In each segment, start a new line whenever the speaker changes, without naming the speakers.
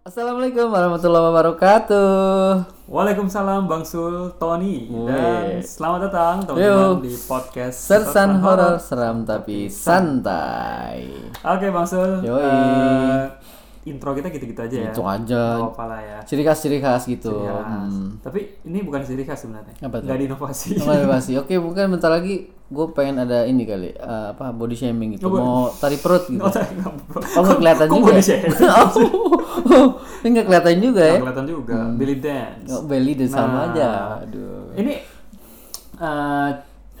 Assalamualaikum warahmatullahi wabarakatuh.
Waalaikumsalam Bang Sul, Tony
Wih.
Dan selamat datang teman-teman
Yo.
di podcast
Sersan
Sersan
horor seram tapi santai.
Oke Bang Sul
Yoi.
eh, Intro kita gitu-gitu aja ya
Itu
Gak
Gitu aja.
apa-apa lah ya
Ciri khas Iya. Oh, ciri khas gitu.
Ya,
Hmm.
Tapi ini bukan ciri khas sebenarnya
Apa tuh?
Gak diinovasi
Apa pasti. Oke, mungkin bentar lagi gue pengen ada ini kali eh, apa body shaming gitu. Mau tarik perut gitu.
Oh, tak, nggak apa-apa.
Oh, nggak kelihatan
Kok
juga.
body shaming?
oh, ini nggak kelihatan juga ya.
Nggak kelihatan juga Billy Dance
Oh, belly dan sama
Nah.
aja. Aduh.
Ini eh,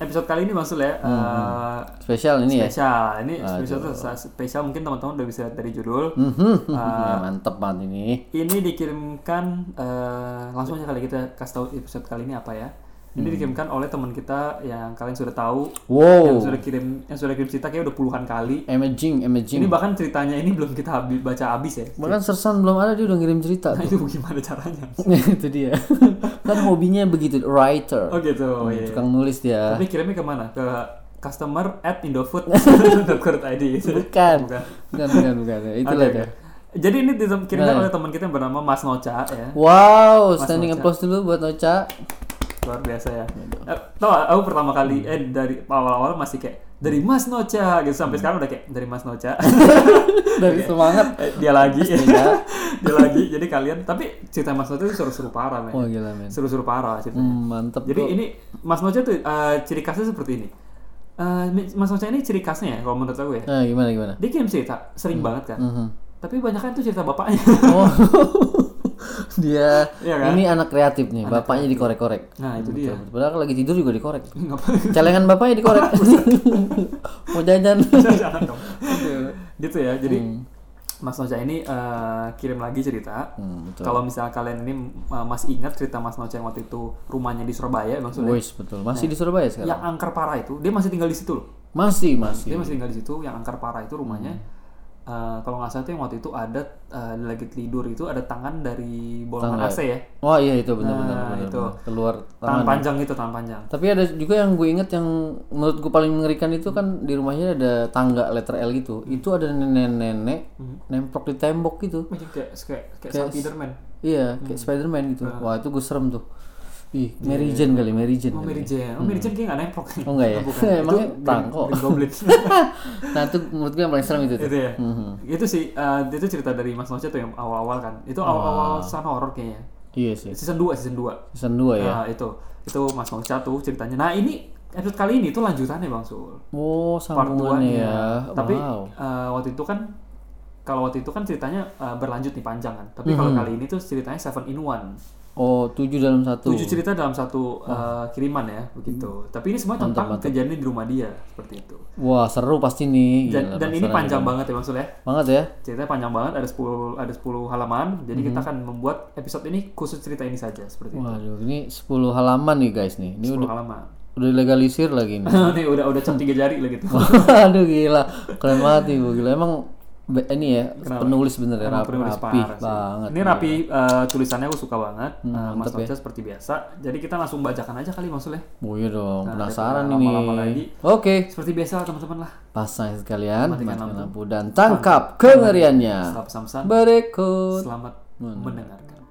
episode kali ini Bang Sul ya eh,
Spesial Hmm, ini ya.
Spesial, ini spesial, tuh spesial mungkin teman-teman udah bisa lihat dari judul
Mhm. Ya, mantep banget ini.
Ini dikirimkan eh, langsung aja kali kita kasih tahu episode kali ini apa ya. Ini dikirimkan oleh teman kita yang kalian sudah tahu, yang
Wow.
sudah kirim yang sudah kirim cerita kayak udah puluhan kali.
Imaging, imaging.
Ini bahkan ceritanya ini belum kita habi- baca habis ya.
Bahkan Sersan belum ada dia udah ngirim cerita.
Nah, itu gimana caranya?
itu dia. kan hobinya begitu writer.
Oh gitu. iya.
Hmm, Tukang nulis dia.
Tapi kirimnya kemana? Ke customer at indofood.co.id
Bukan. Bukan, bukan, bukan. Itulah
Oke,
dia.
oke. gitu. kan? Jadi ini dikirimkan oleh teman kita yang bernama Mas Noca ya.
Wow, standing applause dulu buat Noca.
luar biasa ya. Eh, tau gak, aku pertama kali
Hmm.
eh dari awal-awal masih kayak dari Mas Noca gitu
Hmm.
sampai sekarang udah kayak dari Mas Noca
Dari semangat.
Eh, dia lagi dia lagi jadi kalian tapi cerita Mas Noca itu seru-seru parah men
Oh gila men.
seru-seru parah ceritanya
Hmm, mantep.
jadi ini Mas Noca tuh eh, ciri khasnya seperti ini Eh, Mas Noca ini ciri khasnya ya kalau menurut aku ya
Nah, gimana gimana?
dia kirim cerita sering banget kan
Mhm.
tapi banyak kan tuh cerita bapaknya
Oh. dia
Iya kan?
ini anak kreatif nih, bapaknya dikorek-korek.
nah itu dia
Padahal kan lagi tidur juga dikorek.
ngapain
Celengan bapaknya dikorek. Mau jajan.
jangan dong gitu ya jadi Mas Noca ini eh, kirim lagi cerita
Hmm, betul.
Kalau misalnya kalian ini uh, masih ingat cerita Mas Noce yang waktu itu rumahnya di Surabaya maksudnya
Wis, betul. Masih
Nah.
di Surabaya sekarang.
yang angker parah itu dia masih tinggal di situ loh.
Masih, masih.
Dia masih tinggal di situ yang angker parah itu rumahnya
Hmm.
eh, kalau nggak salah itu yang waktu itu ada eh, lagi tidur itu ada tangan dari bolongan AC ya.
Oh iya itu benar-benar
Nah,
benar,
itu.
benar. keluar
Tangan panjang itu tangan panjang.
Tapi ada juga yang gue inget yang menurut gue paling mengerikan itu kan di rumahnya ada tangga letter L gitu.
Hmm.
Itu ada nenek-nenek nemprok di tembok gitu.
Macam kayak kayak, kayak Spiderman.
Iya, kayak
Hmm.
Spiderman gitu.
Ah.
Wah, itu gue serem tuh. Ih, Mary Jane kali, Mary Jane.
Iya, Oh,
kali.
Mary Jane. Oh, Mary Jane kayak nggak nempok.
iya. Hmm. Oh enggak ya?
Bukan.
Emangnya
Itu
tangkok.
Green Goblin.
nah, itu menurut gue yang paling serem itu. tuh.
itu ya.
Hmm.
Itu sih eh, itu cerita dari Mas Noce tuh yang awal-awal kan. Itu awal-awal sana horor kayaknya.
Oh. Iya sih.
Season 2, season 2.
Season 2 ya.
Nah, itu. Itu Mas Noca tuh ceritanya. Nah, ini episode kali ini tuh lanjutannya Bang Sul.
Oh,
Part 2
sambungannya ya.
Tapi
wow.
eh, waktu itu kan kalau waktu itu kan ceritanya eh, berlanjut nih panjang kan. Tapi kalau
Mm-hmm.
kali ini tuh ceritanya seven in one.
Oh, 7 dalam satu.
Tujuh cerita dalam satu eh, kiriman ya, begitu.
Mm-hmm.
Tapi ini semua tentang kejadian di rumah dia seperti itu.
Wah, seru pasti nih.
Dan, dan ini panjang banget ya Bang Sul ya.
Banget ya.
Ceritanya panjang banget, ada 10 ada 10 halaman. Jadi kita
Mm-hmm.
akan membuat episode ini khusus cerita ini saja seperti itu.
Waduh, ini 10 halaman nih guys nih. Ini
10 halaman.
udah legalisir lagi nih.
Nih udah udah cap tiga jari lah gitu.
Aduh gila, keren banget nih gua, gila. Emang be- ini ya penulis bener ya, rap-
Emang penulis
rapi
parah sih.
banget. Iya. Hmm,
Ini rapi eh, tulisannya aku suka banget. Eh, Mas
ya.
Noca seperti biasa. Jadi kita langsung bacakan aja kali maksudnya.
Oh iya dong, penasaran
Nah, daripada
ini.
lama-lama lagi.
Oke,
Seperti biasa lah, teman-teman lah.
pasang sekalian, matikan lampu dan tangkap kengeriannya.
Selamat samsan.
Berikut.
Selamat mendengarkan.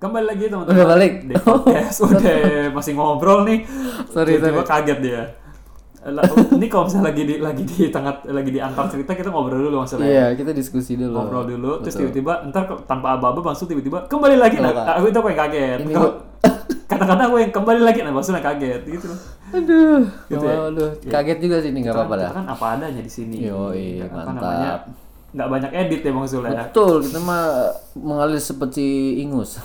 Kembali lagi teman-teman.
Udah balik?
Di podcast. udah masih ngobrol nih.
Sorry,
Tiba-tiba kaget dia. La- Ini kalau misalnya lagi di lagi di tengah lagi di antar cerita kita ngobrol dulu maksudnya.
Iya, kita diskusi dulu.
ngobrol dulu terus tiba-tiba ntar ke- tanpa aba-aba langsung tiba-tiba kembali lagi nah, aku itu aku yang kaget
Ini
Kalau- kadang-kadang aku yang kembali lagi nah langsung yang kaget gitu loh
Aduh,
Gitu ya?
aduh, kaget juga sih ini nggak apa-apa
kita
dah.
kan apa adanya di sini
Yoi,
Apa
mantap.
namanya, nggak banyak edit ya bang Sule ya
Betul, kita mah mengalir seperti ingus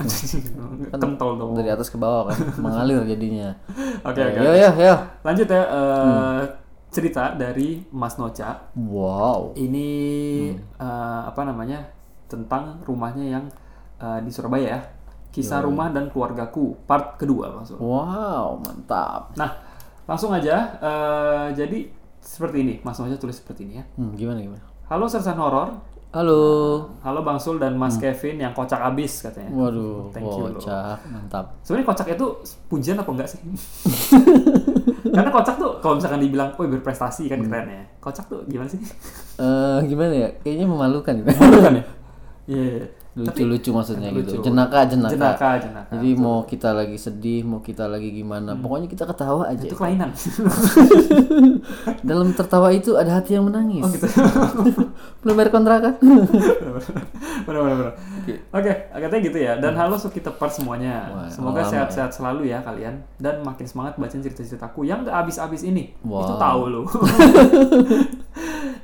kentol dong
dari atas ke bawah kan, mengalir jadinya. Eh,
oke oke
Yo yo yo.
lanjut ya eh,
Hmm.
cerita dari Mas Noca
Wow.
ini eh, apa namanya tentang rumahnya yang eh, di Surabaya ya kisah rumah dan keluargaku part kedua bang Sule
Wow, mantap.
Nah, Langsung aja. eh, jadi seperti ini, Mas Noja tulis seperti ini ya.
Hmm, gimana gimana?
Halo Sersan Horor.
Halo.
Halo Bang Sul dan Mas Kevin yang kocak abis katanya.
Waduh,
Thank you, loh.
kocak, mantap.
Sebenarnya kocak itu pujian apa enggak sih? Karena kocak tuh kalau misalkan dibilang, "Woi, berprestasi kan keren ya." Kocak tuh gimana sih?
Eh, gimana ya? Kayaknya memalukan gitu.
Bukan ya? Iya. iya.
Lucu-lucu maksudnya
Lucu.
gitu. Jenaka, jenaka.
Jenaka, jenaka.
Jadi mau kita lagi sedih, mau kita lagi gimana, pokoknya kita ketawa aja.
Hmm. Itu kan. kelainan.
Dalam tertawa itu ada hati yang menangis.
gitu.
Belum bayar kan? kontrakan.
benar benar benar. Oke, katanya gitu ya. Dan halo Sukitepar semuanya.
Wah,
Semoga
lama
sehat-sehat selalu ya kalian dan makin semangat bacain cerita-ceritaku yang gak habis-habis ini.
Wow.
Itu tahu lo.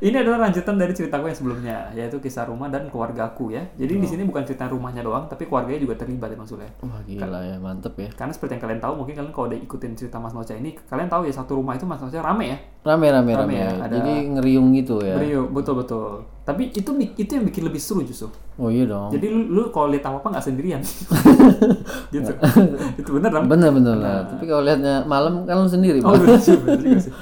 ini adalah lanjutan dari ceritaku yang sebelumnya, yaitu kisah rumah dan keluargaku ya. Jadi di sini bukan cerita rumahnya doang, tapi keluarganya juga terlibat ya Bang Sule.
Wah gila ya, mantep ya.
Karena seperti yang kalian tahu, mungkin kalian kalau udah ikutin cerita Mas Noca ini, kalian tahu ya satu rumah itu Mas Noca rame ya.
Rame rame rame.
Rame ya, ada-
Jadi ngeriung gitu ya.
Brio, betul betul. Tapi itu itu yang bikin lebih seru justru.
Oh iya dong.
Jadi lu, lu kalau lihat apa apa nggak sendirian. gitu. itu bener dong.
Bener bener. lah. Tapi kalau lihatnya malam kan lu sendiri.
Nah. Oh,
Bang.
bener sih, bener juga sih.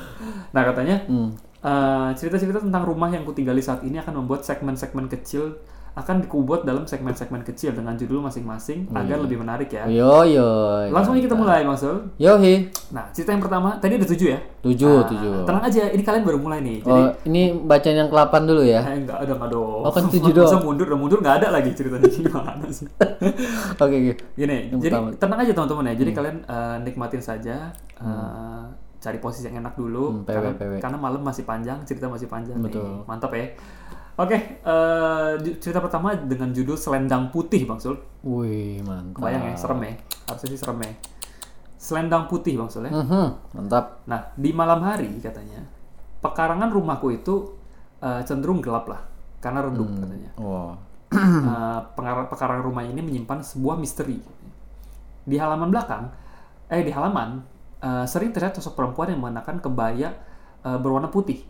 Nah katanya
Hmm.
eh, cerita-cerita tentang rumah yang kutinggali saat ini akan membuat segmen-segmen kecil akan dikubot dalam segmen-segmen kecil dengan judul masing-masing
Hmm.
agar lebih menarik ya.
Yo yo.
Langsung
iya.
aja kita mulai Bang Sul.
Yo he.
Nah cerita yang pertama tadi ada tujuh ya.
Tujuh
Nah,
Oh, tujuh.
Tenang aja, ini kalian baru mulai nih. Jadi
Oh ini bacaan yang kelapan dulu ya.
eh, enggak ada enggak dong.
Oh, kan tujuh doang.
Masa mundur udah mundur nggak ada lagi ceritanya gimana sih?
Oke oke.
Gini, jadi tenang aja teman-teman ya. Jadi
Hmm.
kalian eh, nikmatin saja, eh, cari posisi yang enak
Hmm,
dulu.
PW,
karena,
PW.
karena malam masih panjang, cerita masih panjang.
Betul.
Nih. Mantap ya. Oke, eh, ju- cerita pertama dengan judul Selendang Putih, Bang Sul.
Wih mantap.
Bayang ya, serem ya. Harusnya sih serem ya. Selendang Putih, Bang Sul ya.
Mhm, mantap.
Nah, di malam hari katanya, pekarangan rumahku itu eh, cenderung gelap lah, karena redup
Hmm.
katanya.
Wah.
Eh, pengar- pekarangan rumah ini menyimpan sebuah misteri. Di halaman belakang, eh di halaman eh, sering terlihat sosok perempuan yang mengenakan kebaya eh, berwarna putih,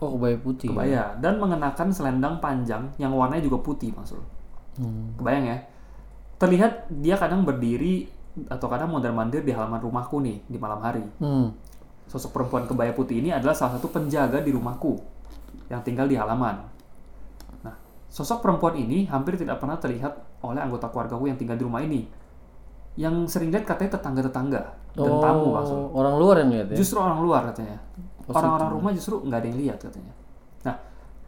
Oh kebaya putih.
kebaya dan mengenakan selendang panjang yang warnanya juga putih, maksud.
Hmm.
Kebayang ya? Terlihat dia kadang berdiri atau kadang mondar-mandir di halaman rumahku nih di malam hari.
Hmm.
Sosok perempuan kebaya putih ini adalah salah satu penjaga di rumahku yang tinggal di halaman. Nah, sosok perempuan ini hampir tidak pernah terlihat oleh anggota keluargaku yang tinggal di rumah ini. Yang sering lihat katanya tetangga-tetangga dan
oh,
tamu maksud.
Orang luar yang lihat ya.
Justru orang luar katanya.
Oh,
Orang-orang rumah justru nggak ada yang lihat katanya. Nah,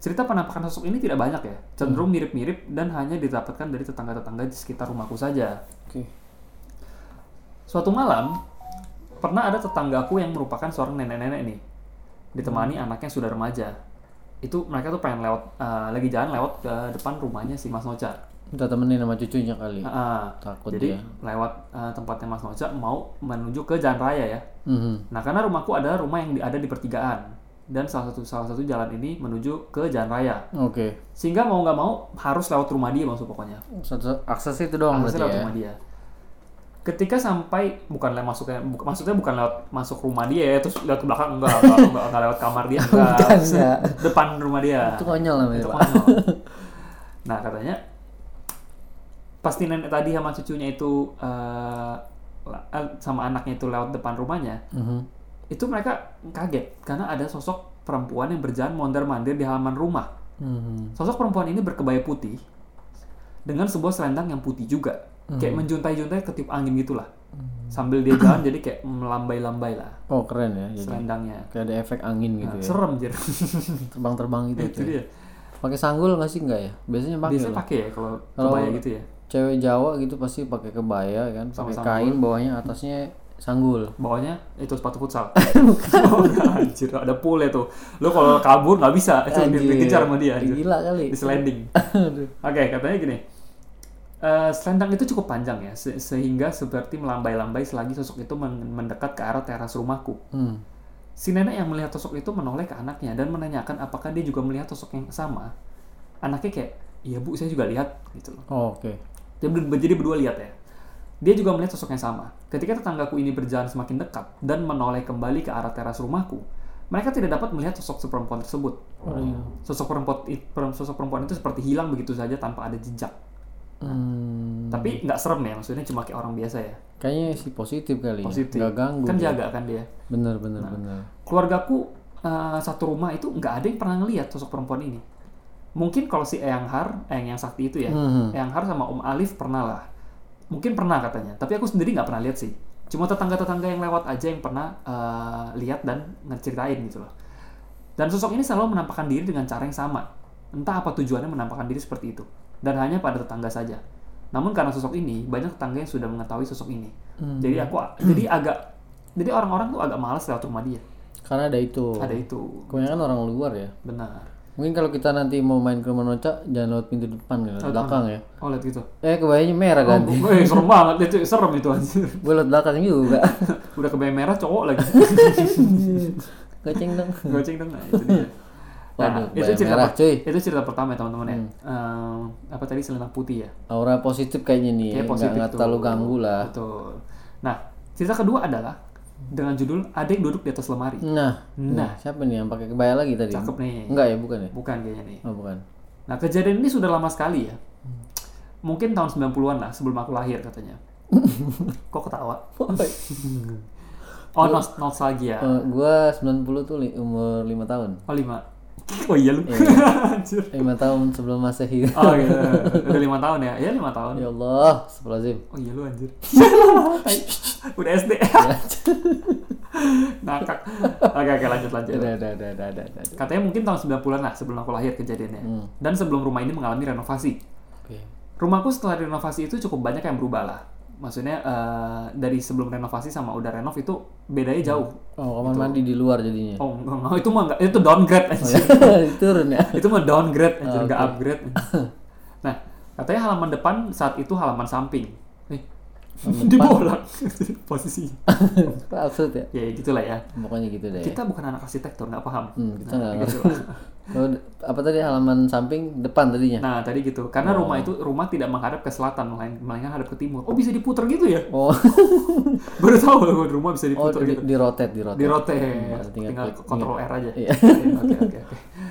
cerita penampakan sosok ini tidak banyak ya. Cenderung
Hmm.
mirip-mirip dan hanya didapatkan dari tetangga-tetangga di sekitar rumahku saja.
Oke.
Suatu malam, pernah ada tetanggaku yang merupakan seorang nenek-nenek nih, ditemani
Hmm.
anaknya sudah remaja. Itu mereka tuh pengen lewat, eh, lagi jalan lewat ke depan rumahnya si Mas Noca.
Kita temenin sama cucunya kali.
Ah, ah.
Takut
jadi
dia.
lewat eh, tempatnya Mas Noca mau menuju ke jalan raya ya.
Mhm.
Nah, karena rumahku adalah rumah yang di- ada di pertigaan dan salah satu salah satu jalan ini menuju ke jalan raya.
Oke.
Sehingga mau nggak mau harus lewat rumah dia maksud pokoknya.
Satu akses itu doang berarti
Aksesnya lewat
ya.
rumah dia. Ketika sampai bukan lewat masuknya, buk- maksudnya bukan lewat masuk rumah dia ya, terus lewat ke belakang enggak, enggak, enggak, enggak lewat kamar dia enggak,
Bukan, enggak.
depan rumah dia.
Itu konyol namanya,
Itu
Pak.
konyol. nah katanya pasti nenek tadi sama cucunya itu eh, la- eh, sama anaknya itu lewat depan rumahnya,
Mhm.
itu mereka kaget karena ada sosok perempuan yang berjalan mondar-mandir di halaman rumah.
Mhm.
Sosok perempuan ini berkebaya putih dengan sebuah selendang yang putih juga.
Hmm.
Kayak menjuntai-juntai ketip angin gitulah. Sambil dia jalan jadi kayak melambai-lambai lah
Oh, keren ya. Jadi
selendangnya.
kayak ada efek angin gitu ya.
Serem jer.
Terbang-terbang gitu.
itu
tuh.
dia.
Pakai sanggul nggak sih enggak ya? Biasanya pakai
Iya, Biasanya
loh.
pakai ya kalau kebaya gitu ya.
Cewek Jawa gitu pasti pakai kebaya kan,
Sama
pakai
sanggul.
kain bawahnya atasnya sanggul.
Bawahnya itu sepatu futsal. oh, enggak, anjir, ada pool ya tuh. Lo kalau kabur nggak bisa. Itu
Anjir.
dikejar sama dia. anjir.
Gila kali.
Di selending.
Aduh.
Oke, katanya gini. Eh, selendang itu cukup panjang ya, se- sehingga seperti melambai-lambai selagi sosok itu men- mendekat ke arah teras rumahku.
Hmm.
Si nenek yang melihat sosok itu menoleh ke anaknya dan menanyakan apakah dia juga melihat sosok yang sama. Anaknya kayak, iya bu, saya juga lihat gitu loh.
Oh, oke.
Dia ber- jadi berdua lihat ya. Dia juga melihat sosok yang sama. Ketika tetanggaku ini berjalan semakin dekat dan menoleh kembali ke arah teras rumahku, mereka tidak dapat melihat sosok perempuan tersebut.
iya.
Sosok perempuan, i- perem- sosok perempuan itu seperti hilang begitu saja tanpa ada jejak.
Hmm.
Tapi nggak serem ya, maksudnya cuma kayak orang biasa ya.
Kayaknya sih positif kali
Positif.
ya. Gak ganggu.
Kan
dia.
jaga kan dia.
Bener bener bener.
Keluargaku eh, satu rumah itu nggak ada yang pernah ngelihat sosok perempuan ini. Mungkin kalau si Eyang Har, Eyang yang sakti itu ya,
Mhm.
Eyang Har sama Om Alif pernah lah. Mungkin pernah katanya, tapi aku sendiri nggak pernah lihat sih. Cuma tetangga-tetangga yang lewat aja yang pernah eh, lihat dan ngeceritain gitu loh. Dan sosok ini selalu menampakkan diri dengan cara yang sama. Entah apa tujuannya menampakkan diri seperti itu. Dan hanya pada tetangga saja. Namun karena sosok ini, banyak tetangga yang sudah mengetahui sosok ini. Jadi aku, jadi agak, jadi orang-orang tuh agak malas lewat rumah dia.
Karena ada itu.
Ada itu,
Kebanyakan orang luar ya.
benar.
Mungkin kalau kita nanti mau main ke rumah Noca, jangan lewat pintu depan ya, lewat belakang ya.
Oh lihat gitu.
Eh kebayangnya merah
Oh,
ganti.
eh, serem banget itu, serem itu anjir.
Gue lewat belakang juga.
Udah kebayang merah cowok lagi.
Goceng dong.
Goceng dong, nah, itu dia. Nah,
Waduh,
itu
kebayang
cerita
merah
per-
cuy. Hmm.
itu cerita pertama ya teman-teman ya. Ehm, apa tadi selendang putih ya?
Aura positif kayaknya nih.
Kayak
Nggak-
Iya, positif
nggak
tuh.
terlalu ganggu lah.
Betul. Nah, cerita kedua adalah dengan judul Ada yang duduk di atas lemari.
Nah, nah, siapa nih yang pakai kebaya lagi tadi?
Cakep nih.
Enggak ya, bukan ya?
Bukan kayaknya nih.
Oh, bukan.
Nah, kejadian ini sudah lama sekali ya. Mungkin tahun 90-an lah sebelum aku lahir katanya. Kok ketawa? Oh, nos- nostalgia.
Eh, gua 90 tuh li- umur 5 tahun.
Oh, lima. Oh iya lu. Anjir.
5 tahun sebelum Masehi.
Oh iya. Udah lima tahun ya? Iya lima tahun.
ya Allah, astagfirullahalazim.
Oh iya lu anjir. Udah SD. Nakak. Oke oke lanjut lanjut.
Ada ada ada ada ada. ada.
Katanya mungkin tahun 90-an lah sebelum aku lahir kejadiannya. Dan sebelum rumah ini mengalami renovasi.
Oke.
Rumahku setelah renovasi itu cukup banyak yang berubah lah. Maksudnya eh, dari sebelum renovasi sama udah renov itu bedanya jauh.
Oh, kamar mandi di luar jadinya.
Oh, enggak, enggak. itu mah enggak, itu downgrade anjir.
iya. Turun ya.
itu mah downgrade anjir nggak upgrade nah katanya halaman depan saat itu halaman samping nih dibolak posisinya
Absurd ya.
ya gitulah ya
Pokoknya gitu deh.
kita bukan anak arsitektur nggak paham
Hmm, kita nggak
gitu.
Oh, d- apa tadi halaman samping depan tadinya?
nah tadi gitu karena
Oh.
rumah itu rumah tidak menghadap ke selatan melain- melainkan hadap ke timur oh bisa diputer gitu ya
Oh,
baru tahu gue rumah
oh
bisa diputer
di,
gitu
di rotate, di rotate.
di rote
harus tinggal
tinggal
klik. gitu.
kontrol R aja
Iya.
Iya, oke oke oke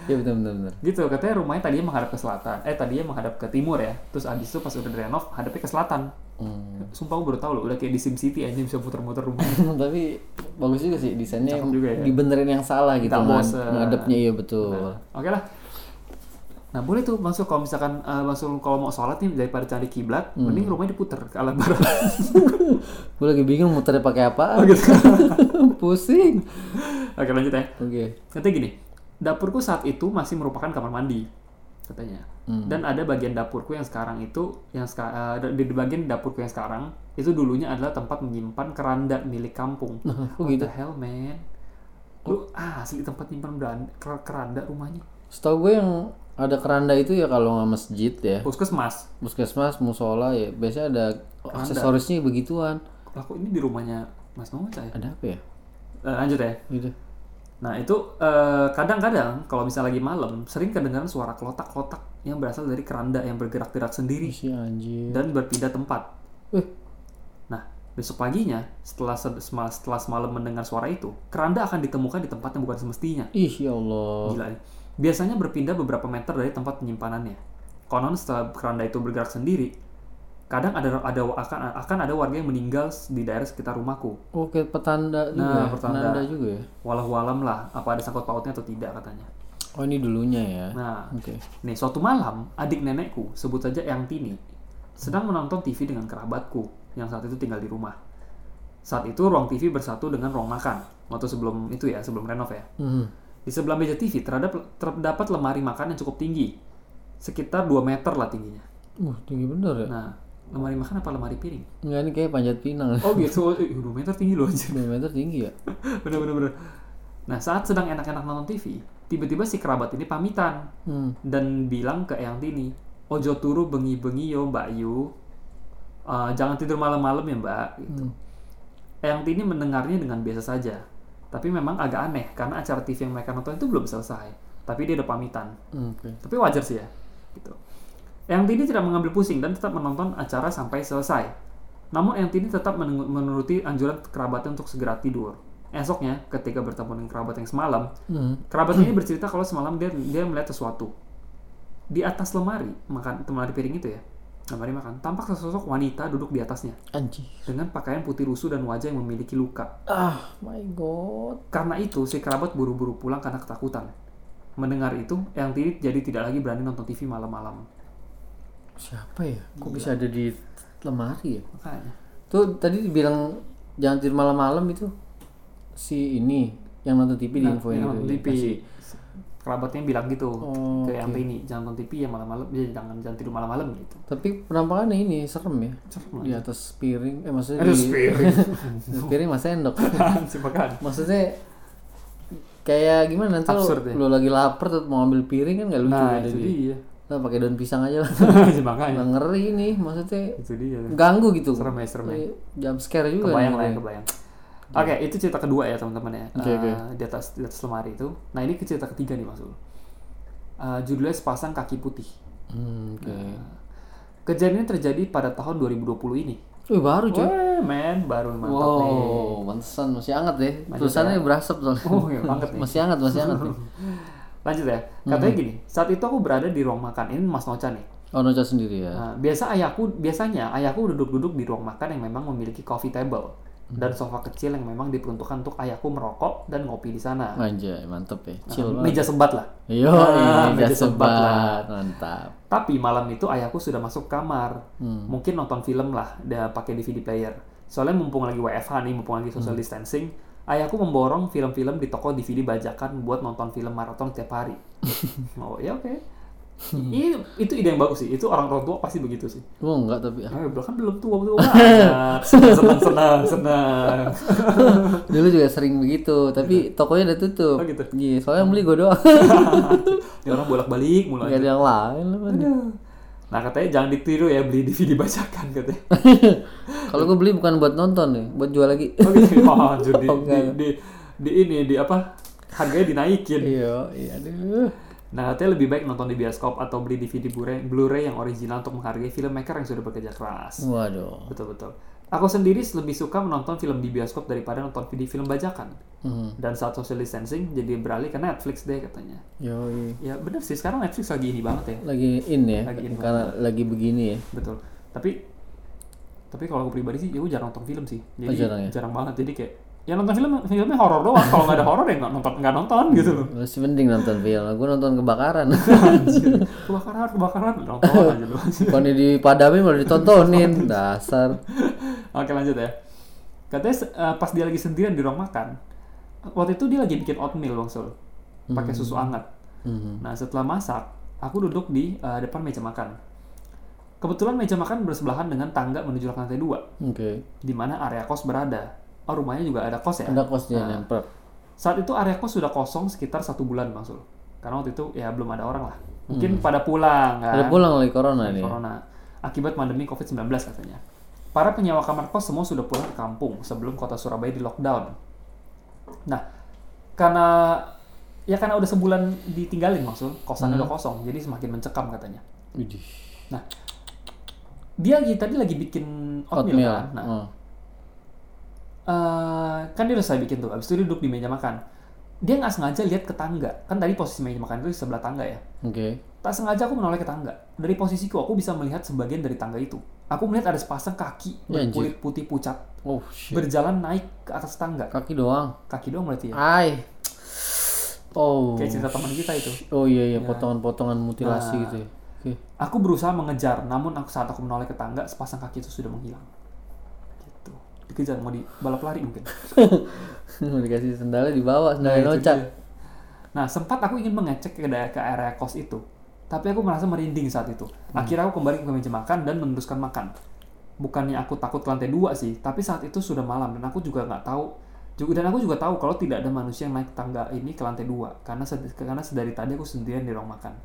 Iya benar benar benar.
gitu katanya rumahnya tadinya menghadap ke selatan eh tadinya menghadap ke timur ya terus abis itu pas udah renov hadapnya ke selatan
Hmm.
Sumpah gue baru tau loh, udah kayak di Sim City aja bisa muter-muter rumah.
Tapi bagus juga sih desainnya
Cakep juga ya.
dibenerin yang salah gitu
Nggak
nggak-
bosen.
ngadepnya iya betul.
Nah, Oke lah. Nah boleh tuh masuk kalau misalkan eh, masuk kalau mau sholat nih daripada cari kiblat,
Hmm.
mending rumahnya diputer ke arah barat.
Gue lagi bingung muternya pakai apa.
Oh, gitu.
Pusing.
Oke lanjut ya.
Oke.
Katanya gini, dapurku saat itu masih merupakan kamar mandi katanya.
Hmm.
Dan ada bagian dapurku yang sekarang itu yang seka- eh, di di bagian dapurku yang sekarang itu dulunya adalah tempat menyimpan keranda milik kampung.
Nah, kok
What
gitu?
the hell man? Lu asli tempat nyimpan beran- ker- keranda rumahnya.
Setahu gue yang ada keranda itu ya kalau nggak masjid ya.
Puskesmas.
Puskesmas, musola ya. Biasanya ada aksesorisnya begituan.
Aku ini di rumahnya Mas Noca ya.
Ada apa ya?
Eh, lanjut ya.
Gitu.
Nah itu eh, kadang-kadang kalau misalnya lagi malam sering kedengaran suara kelotak-kelotak yang berasal dari keranda yang bergerak-gerak sendiri
Si anjir.
dan berpindah tempat.
Eh,
Nah besok paginya setelah se- sema- setelah semalam mendengar suara itu keranda akan ditemukan di tempat yang bukan semestinya.
ih ya Allah.
Gila nih. Biasanya berpindah beberapa meter dari tempat penyimpanannya. Konon setelah keranda itu bergerak sendiri, kadang ada ada akan akan ada warga yang meninggal di daerah sekitar rumahku.
Oke, Oh, petanda juga. ya.
Nah, pertanda.
Penanda juga ya.
walau walam lah apa ada sangkut pautnya atau tidak katanya.
Oh, ini dulunya ya.
Nah,
Oke.
nih suatu malam adik nenekku sebut saja Yang Tini sedang menonton TV dengan kerabatku yang saat itu tinggal di rumah. Saat itu ruang TV bersatu dengan ruang makan waktu sebelum itu ya sebelum renov ya.
Mhm.
Di sebelah meja TV terhadap terdapat lemari makan yang cukup tinggi sekitar 2 meter lah tingginya.
Uh, tinggi bener ya.
Nah, lemari makan apa lemari piring?
Enggak ini kayak panjat pinang.
Oh gitu, 2 meter tinggi loh anjir.
2 meter tinggi ya.
bener bener bener. Nah saat sedang enak-enak nonton TV, tiba-tiba si kerabat ini pamitan
Hmm.
dan bilang ke Eyang Tini, ojo turu bengi-bengi yo Mbak Yu, Eh, jangan tidur malam-malam ya Mbak. Gitu.
hmm,
Eyang Tini mendengarnya dengan biasa saja, tapi memang agak aneh karena acara TV yang mereka nonton itu belum selesai, tapi dia udah pamitan.
hmm, Oke.
Tapi wajar sih ya, gitu. Eyang Tini tidak mengambil pusing dan tetap menonton acara sampai selesai. Namun Eyang Tini tetap meneng- menuruti anjuran kerabatnya untuk segera tidur. Esoknya, ketika bertemu dengan kerabat yang semalam,
Hmm.
Kerabat ini bercerita kalau semalam dia dia melihat sesuatu di atas lemari makan lemari piring itu ya Gambar dimakan. Tampak sesosok wanita duduk di atasnya
Anjir.
dengan pakaian putih lusuh dan wajah yang memiliki luka.
Ah, my god.
Karena itu, si kerabat buru-buru pulang karena ketakutan. Mendengar itu, Eyang Tiri jadi tidak lagi berani nonton TV malam-malam.
Siapa ya? Kok bisa ada di lemari ya?
Makanya.
Tuh tadi dibilang jangan tidur malam-malam itu si ini yang nonton TV di
Nah,
infoin gitu.
yang nonton
ya,
TV.
pasti.
Kerabatnya bilang gitu
Oh,
ke Eyang Tini, jangan nonton TV ya malam-malam, ya, jangan jangan tidur malam-malam gitu.
Tapi penampakannya ini serem ya.
Serem
Di atas piring, eh maksudnya
Aduh,
di
spirit.
di atas piring mas sendok.
Si makan.
maksudnya kayak gimana nanti lo,
Absurd ya.
lo lagi lapar tuh mau ambil piring kan nggak lucu
Nah,
ada
itu
di-
dia.
Nah, pakai daun pisang aja lah.
Si makanya.
Nah, ngeri nih maksudnya
Itu dia.
ganggu gitu.
Iya. Serem ya, serem ya.
Jam scare juga.
kebayang
nih.
lah ya, kebayang. Oke, itu cerita kedua ya teman-teman ya.
Oke,
Eh,
oke.
Di atas di atas lemari itu. Nah ini ke cerita ketiga nih Mas Ul. Eh, judulnya sepasang kaki putih.
Hmm, oke.
Kejadian ini terjadi pada tahun 2020 ini.
Wih, baru cuy.
Wah, men, baru mantap nih.
Wow, mantesan masih hangat deh. Tulisannya berasap soalnya.
Oh, iya, banget nih.
masih hangat, masih hangat. nih.
Lanjut ya. Katanya gini, saat itu aku berada di ruang makan ini Mas Noca nih.
Oh, Noca sendiri ya.
Nah, biasa ayahku biasanya ayahku duduk-duduk di ruang makan yang memang memiliki coffee table dan sofa kecil yang memang diperuntukkan untuk ayahku merokok dan ngopi di sana.
Anjay, mantep ya. Chill
Nah,
banget.
meja sebat lah.
Yo,
Ah,
meja
meja sebat lah.
sebat. Mantap.
Tapi malam itu ayahku sudah masuk kamar. Mungkin nonton film lah, udah pakai DVD player. Soalnya mumpung lagi WFH nih, mumpung lagi social distancing, ayahku memborong film-film di toko DVD bajakan buat nonton film maraton tiap hari. oh ya oke. Ini itu ide yang bagus sih. Itu orang orang tua pasti begitu sih.
Gua enggak tapi ah.
Eh, bahkan belum tua belum banget. Senang senang senang.
dulu juga sering begitu, tapi tokonya udah tutup.
Oh, gitu.
Iya, soalnya yang beli gua doang.
Ini orang bolak balik mulai.
Gak ada yang lain lah. Pan.
Nah katanya jangan ditiru ya beli DVD bajakan katanya.
Kalau gua beli bukan buat nonton ya, buat jual lagi.
Oh gitu. Wah, anjir, di,
Oh,
di, di, di ini di apa? Harganya dinaikin.
Iya, iya aduh.
Nah, katanya lebih baik nonton di bioskop atau beli DVD Blu-ray, Blu-ray yang original untuk menghargai filmmaker yang sudah bekerja keras.
Waduh.
Betul betul. Aku sendiri lebih suka menonton film di bioskop daripada nonton video film bajakan.
Hmm.
Dan saat social distancing jadi beralih ke Netflix deh katanya.
Yo,
Ya bener sih sekarang Netflix lagi ini banget ya.
lagi in ya,
Lagi in
karena lagi begini ya.
Betul. Tapi tapi kalau aku pribadi sih, ya gue jarang nonton film sih. Jadi
Oh, jarang ya?
banget. Jadi kayak ya nonton film filmnya horor doang. Kalau nggak ada horor ya nggak nonton nggak nonton gitu loh.
Masih mending nonton film. Gue nonton kebakaran.
Anjir. kebakaran kebakaran nonton aja lu
Bukannya dipadamin malah ditontonin. Dasar.
oke lanjut ya katanya se- eh, pas dia lagi sendirian di ruang makan waktu itu dia lagi bikin oatmeal bang Sul pakai susu hangat
Hmm.
nah setelah masak aku duduk di eh, depan meja makan kebetulan meja makan bersebelahan dengan tangga menuju lantai dua
Oke.
di mana area kos berada oh rumahnya juga ada kos ya
Ada kosnya
Nah,
nempel.
saat itu area kos sudah kosong sekitar satu bulan bang Sul karena waktu itu ya belum ada orang lah
Hmm.
mungkin pada pulang kan
Ada pulang lagi corona nih.
corona akibat pandemi COVID-19 katanya. Para penyewa kamar kos semua sudah pulang ke kampung sebelum kota Surabaya di lockdown. Nah, karena ya karena udah sebulan ditinggalin maksud kosannya udah kosong, jadi semakin mencekam katanya.
Widih.
Nah, dia lagi tadi lagi bikin oatmeal,
Oatmeal.
kan. Nah,
Oh.
eh, kan dia udah saya bikin tuh, abis itu dia duduk di meja makan. Dia nggak sengaja lihat ke tangga, kan tadi posisi meja makan itu di sebelah tangga ya.
Oke.
Tak sengaja aku menoleh ke tangga. Dari posisiku aku bisa melihat sebagian dari tangga itu. Aku melihat ada sepasang kaki
Ya, anjir.
berkulit putih pucat
Oh shit.
berjalan naik ke atas tangga.
Kaki doang.
Kaki doang berarti ya.
Ai. Oh.
Kayak cerita teman kita itu.
Oh iya iya potongan-potongan mutilasi
Nah.
gitu ya. Oke.
Aku berusaha mengejar, namun aku saat aku menoleh ke tangga, sepasang kaki itu sudah menghilang. Gitu. Dikejar mau di balap lari mungkin.
Dikasih sendalnya dibawa, sendalnya
Nah, itu
nocak.
dia. Nah, sempat aku ingin mengecek ke, da- ke area kos itu, tapi aku merasa merinding saat itu. Akhirnya aku kembali ke meja makan dan meneruskan makan. Bukannya aku takut ke lantai dua sih, tapi saat itu sudah malam dan aku juga nggak tahu juga dan aku juga tahu kalau tidak ada manusia yang naik tangga ini ke lantai dua karena sed- karena sedari tadi aku sendirian di ruang makan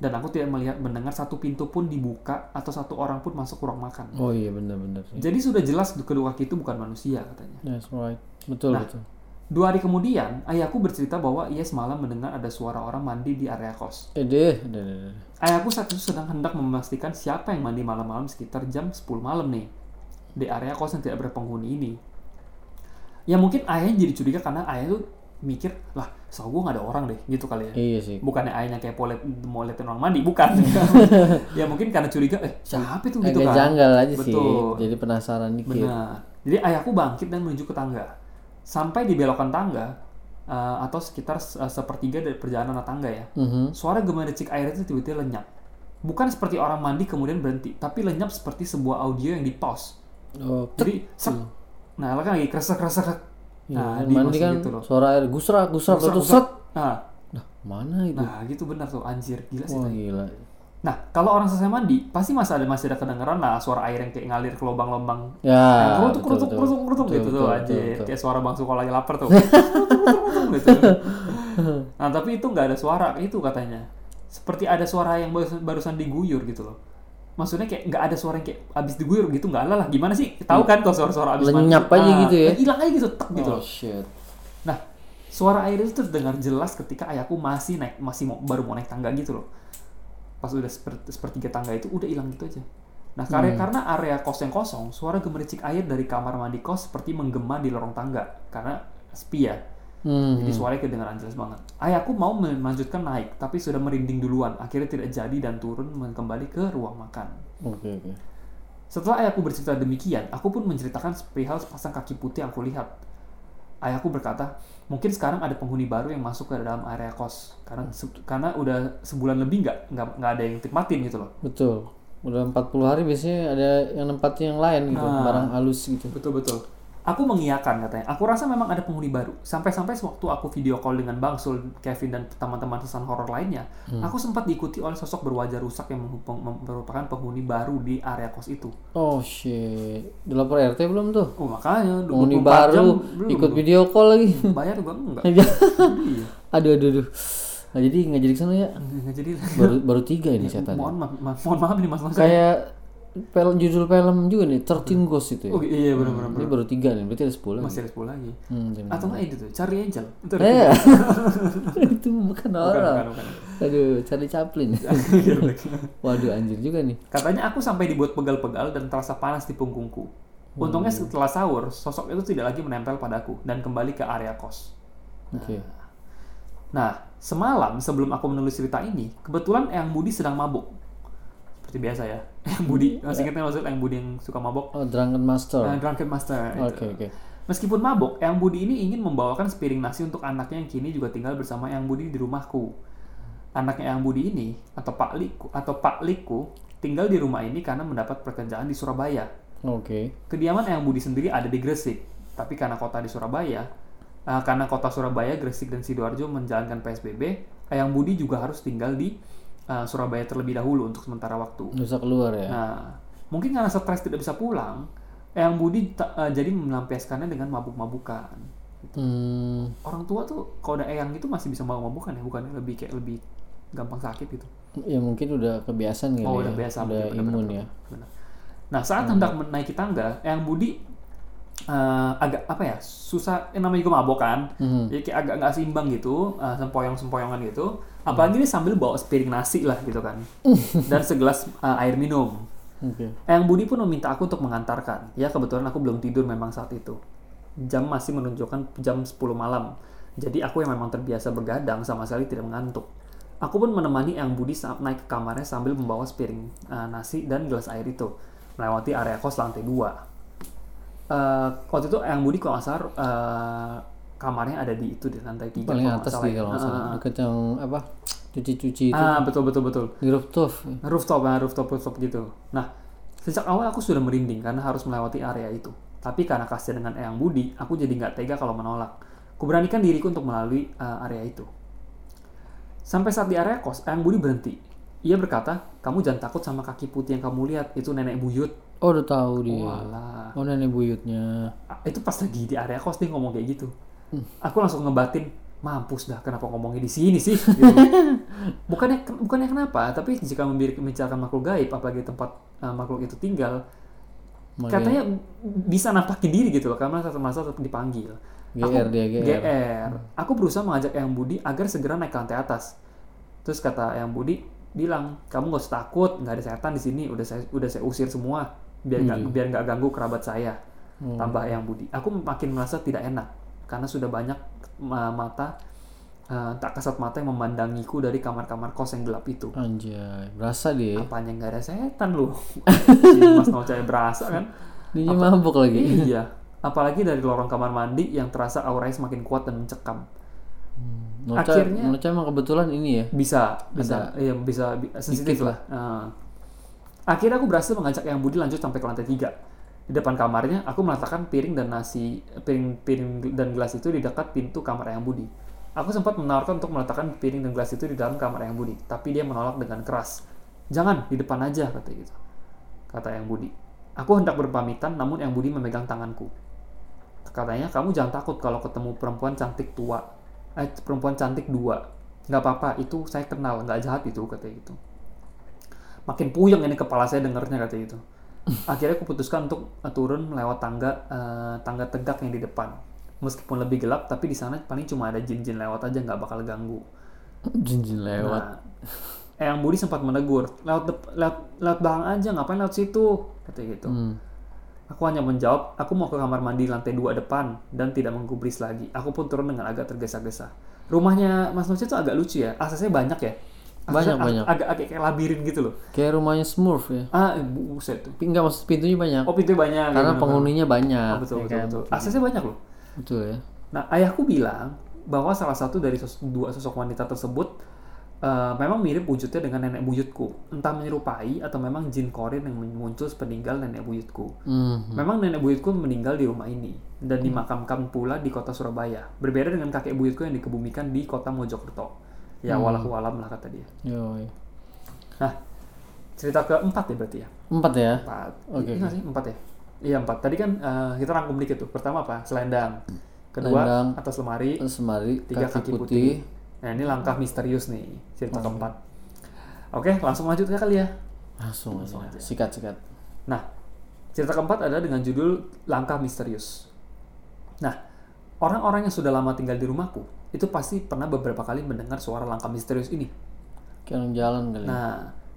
dan aku tidak melihat mendengar satu pintu pun dibuka atau satu orang pun masuk ke ruang makan.
Oh iya benar-benar sih.
Jadi sudah jelas kedua kaki itu bukan manusia katanya.
That's right.
Nah.
Betul betul.
Dua hari kemudian, ayahku bercerita bahwa ia semalam mendengar ada suara orang mandi di area kos.
Eh deh, deh, deh, deh.
Ayahku saat itu sedang hendak memastikan siapa yang mandi malam-malam sekitar jam 10 malam nih. Di area kos yang tidak berpenghuni ini. Ya mungkin ayahnya jadi curiga karena ayah tuh mikir, lah setahu gue nggak ada orang deh gitu kali ya
Iya sih.
bukannya ayahnya kayak polet, mau liatin orang mandi bukan ya mungkin karena curiga eh siapa itu gitu
Agak
kan
janggal aja
Betul.
sih. Jadi penasaran dikit.
Benar. Jadi ayahku bangkit dan menuju ke tangga. Sampai di belokan tangga, eh, atau sekitar se- sepertiga dari perjalanan anak tangga ya,
Mhm.
suara gemericik air itu tiba-tiba lenyap. Bukan seperti orang mandi kemudian berhenti, tapi lenyap seperti sebuah audio yang di pause.
Oh,
Jadi, sek. Nah, kan lagi kresek kresek. kresek.
iya,
Nah, di
mandi
masih
kan
gitu loh.
suara air gusrak gusrak
Gusrak,
itu
gusrak.
set.
Nah,
Nah, mana itu?
nah gitu benar tuh anjir, gila sih.
Wah,
tai.
gila.
Nah, kalau orang selesai mandi, pasti masih ada masih ada kedengeran lah suara air yang kayak ngalir ke lubang-lubang
Ya, betul,
kerutuk kerutuk
betul.
kerutuk kerutuk
Betul,
gitu
betul,
tuh
betul,
aja
betul.
kayak suara bang Suko lagi lapar tuh kerutuk kerutuk kerutuk gitu nah tapi itu nggak ada suara itu katanya seperti ada suara yang barusan, barusan diguyur gitu loh maksudnya kayak nggak ada suara yang kayak abis diguyur gitu nggak ada lah gimana sih tahu kan kalau suara-suara abis
Iya. Lenyap
mandi.
aja gitu ya.
hilang aja gitu tek gitu
Oh,
loh
shit.
nah suara air itu terdengar jelas ketika ayahku masih naik masih mau, baru mau naik tangga gitu loh pas udah seperti sepertiga tangga itu udah hilang gitu aja. Nah, karena karena area kos yang kosong, suara gemericik air dari kamar mandi kos seperti menggema di lorong tangga karena sepi ya.
Hmm.
Jadi suaranya kedengaran jelas banget. Ayahku mau melanjutkan naik, tapi sudah merinding duluan. Akhirnya tidak jadi dan turun men- kembali ke ruang makan.
Oke, oke.
Setelah ayahku bercerita demikian, aku pun menceritakan perihal sepasang kaki putih yang aku lihat. Ayahku berkata, mungkin sekarang ada penghuni baru yang masuk ke dalam area kos. Karena se- karena udah sebulan lebih nggak nggak nggak ada yang nikmatin gitu loh.
Betul. Udah 40 hari biasanya ada yang nempatin yang lain gitu,
Nah.
barang halus gitu.
Betul betul. Aku mengiyakan katanya. Aku rasa memang ada penghuni baru. Sampai-sampai sewaktu aku video call dengan Bang Sul, Kevin dan teman-teman pesan horor lainnya,
Hmm.
aku sempat diikuti oleh sosok berwajah rusak yang menghup- mem- merupakan penghuni baru di area kos itu.
Oh shit. Udah lapor RT belum tuh?
Oh makanya 24
Penghuni
jam
baru
belum,
ikut
belum.
video call lagi.
bayar juga enggak. iya.
aduh aduh aduh. Nah, jadi nggak jadi kesana ya.
Nggak jadi
Baru baru tiga ini setan.
mohon maaf, ma- mohon maaf nih Mas Mas.
Kayak film judul film juga nih, 13 Ghost itu ya.
Oh iya benar-benar
Ini baru tiga nih, berarti ada 10 lagi.
masih ada 10 lagi.
Hmm, jam-
Atau enggak itu tuh, cari Angel. Itu ada-
Eh, itu bukan
bukan,
orang.
bukan, bukan.
Aduh, Charlie Chaplin.
Iya, bukan.
Waduh, anjir juga nih.
Katanya aku sampai dibuat pegal-pegal dan terasa panas di punggungku. Untungnya setelah sahur, sosok itu tidak lagi menempel padaku dan kembali ke area kos.
Oke.
Nah, semalam sebelum aku menulis cerita ini, kebetulan Eyang Budi sedang mabuk. Seperti biasa ya. Eyang Budi, masih ingat kan maksud Eyang Budi yang suka mabuk?
Oh, Drunken
Nah,
Master.
Drunken Master. itu.
Oke, oke.
Meskipun mabok, Eyang Budi ini ingin membawakan sepiring nasi untuk anaknya yang kini juga tinggal bersama Eyang Budi di rumahku. Anaknya Eyang Budi ini atau Pak Liku atau Pak Liku tinggal di rumah ini karena mendapat pekerjaan di Surabaya.
Oke.
Kediaman Eyang Budi sendiri ada di Gresik, tapi karena kota di Surabaya, eh, karena kota Surabaya, Gresik dan sidoarjo menjalankan PSBB, Eyang Budi juga harus tinggal di eh, Surabaya terlebih dahulu untuk sementara waktu.
Nggak usah keluar ya.
Nah, mungkin karena stres tidak bisa pulang, Eyang Budi ta- eh, jadi melampiaskannya dengan mabuk-mabukan.
Hmm,
Orang tua tuh kalau udah eyang gitu masih bisa mabuk-mabukan ya, bukannya lebih kayak lebih gampang sakit gitu.
ya mungkin udah kebiasaan kali
Oh,
ya.
udah biasa,
Udah
mungkin,
imun
benar-benar.
ya.
Benar. Nah, saat hendak menaiki tangga, Eyang Budi eh, agak apa ya? Susah, eh, namanya juga mabok kan.
Mhm.
Jadi kayak agak nggak seimbang gitu, eh, sempoyong-sempoyongan gitu. Apalagi dia sambil bawa sepiring nasi lah gitu kan. Dan segelas eh, air minum.
Oke.
Eyang Budi pun meminta aku untuk mengantarkan. Ya kebetulan aku belum tidur memang saat itu. Jam masih menunjukkan jam 10 malam. Jadi aku yang memang terbiasa begadang sama sekali tidak mengantuk. Aku pun menemani Eyang Budi saat naik ke kamarnya sambil membawa sepiring eh, nasi dan gelas air itu. Melewati area kos lantai 2. Eh waktu itu Eyang Budi kalau nggak salah eh, kamarnya ada di itu di lantai 3.
Paling atas
salah
sih
ya.
kalau nggak salah.
Ah,
Deket yang apa? Cuci-cuci itu.
Ah, betul betul betul
Di rooftop.
rooftop nah, rooftop rooftop gitu nah sejak awal aku sudah merinding karena harus melewati area itu tapi karena kasihan dengan Eyang Budi aku jadi nggak tega kalau menolak kuberanikan diriku untuk melalui uh, area itu sampai saat di area kos Eyang Budi berhenti ia berkata kamu jangan takut sama kaki putih yang kamu lihat itu nenek buyut
Oh, udah tahu dia.
walah
Oh, nenek buyutnya.
itu pas lagi di area kos dia ngomong kayak gitu aku langsung ngebatin mampus dah kenapa ngomongnya di sini sih gitu. bukannya bukannya kenapa tapi jika membir- membicarakan makhluk gaib apalagi tempat eh, makhluk itu tinggal
Malah
katanya bisa nampakin diri gitu loh karena satu masa tetap dipanggil
GR
Aku-
dia, GR.
aku berusaha mengajak Eyang Budi agar segera naik ke lantai atas terus kata Eyang Budi bilang kamu gak usah takut nggak ada setan di sini udah saya udah saya usir semua biar nggak biar nggak ganggu kerabat saya
Hmm.
tambah Eyang Budi aku makin merasa tidak enak karena sudah banyak eh, mata eh, tak kasat mata yang memandangiku dari kamar-kamar kos yang gelap itu.
Anjay, berasa dia. ya.
Apanya nggak ada setan lu? Si Mas Noca yang berasa kan?
Dia mabuk lagi.
iya. Apalagi dari lorong kamar mandi yang terasa auranya semakin kuat dan mencekam.
Noca,
Akhirnya-
Noca emang kebetulan ini ya.
Bisa, bisa, iya bisa bi- sensitif lah. Eh, akhirnya aku berhasil mengajak yang Budi lanjut sampai ke lantai tiga. Di depan kamarnya, aku meletakkan piring dan nasi, piring-piring dan gelas itu di dekat pintu kamar yang Budi. Aku sempat menawarkan untuk meletakkan piring dan gelas itu di dalam kamar yang Budi, tapi dia menolak dengan keras. Jangan, di depan aja, kata gitu. Kata yang Budi. Aku hendak berpamitan, namun yang Budi memegang tanganku. Katanya, kamu jangan takut kalau ketemu perempuan cantik tua. Eh, perempuan cantik dua. Nggak apa-apa, itu saya kenal. Nggak jahat itu, katanya gitu. Makin puyeng ini kepala saya dengernya, katanya gitu. Akhirnya aku putuskan untuk eh, turun lewat tangga eh, tangga tegak yang di depan. Meskipun lebih gelap, tapi di sana paling cuma ada jin-jin lewat aja, nggak bakal ganggu.
Jinjin lewat.
Nah, Eyang Budi sempat menegur, lewat, dep- lewat, lewat belakang aja, ngapain lewat situ? Katanya gitu.
Hmm.
Aku hanya menjawab, aku mau ke kamar mandi lantai dua depan dan tidak menggubris lagi. Aku pun turun dengan agak tergesa-gesa. Rumahnya Mas Nusi itu agak lucu ya. Aksesnya banyak ya.
Banyak,
Aksesnya
banyak.
ag- Agak agak kayak labirin gitu loh.
Kayak rumahnya Smurf ya.
Ah, eh, buset tuh.
Tapi Enggak maksud pintunya banyak.
Oh, pintunya banyak.
karena
Gitu.
penghuninya banyak.
Ah, betul,
ya
betul,
kan?
betul. Aksesnya banyak loh.
Betul ya.
Nah, ayahku bilang bahwa salah satu dari sos- dua sosok wanita tersebut eh, memang mirip wujudnya dengan nenek buyutku. Entah menyerupai atau memang jin korin yang muncul sepeninggal nenek buyutku.
Hmm.
Memang nenek buyutku meninggal di rumah ini dan dimakamkan pula di kota Surabaya. Berbeda dengan kakek buyutku yang dikebumikan di kota Mojokerto. Ya
Hmm.
walau alam lah kata dia.
Yoi.
Nah, cerita keempat ya berarti ya.
Empat ya.
Empat.
Oke,
Iya nggak sih? Empat ya. Iya empat. Tadi kan eh, kita rangkum dikit tuh. Pertama apa? Selendang.
Hmm.
Kedua
Selendang.
atas lemari.
Semari,
Tiga
kaki,
kaki
putih.
putih. Nah ini langkah misterius nih cerita keempat. Oke langsung lanjut ya kali ya.
Langsung, aja. Sikat, sikat.
Nah, cerita keempat adalah dengan judul Langkah Misterius. Nah, orang-orang yang sudah lama tinggal di rumahku, itu pasti pernah beberapa kali mendengar suara langkah misterius ini.
Kayak orang jalan kali. ya.
Nah,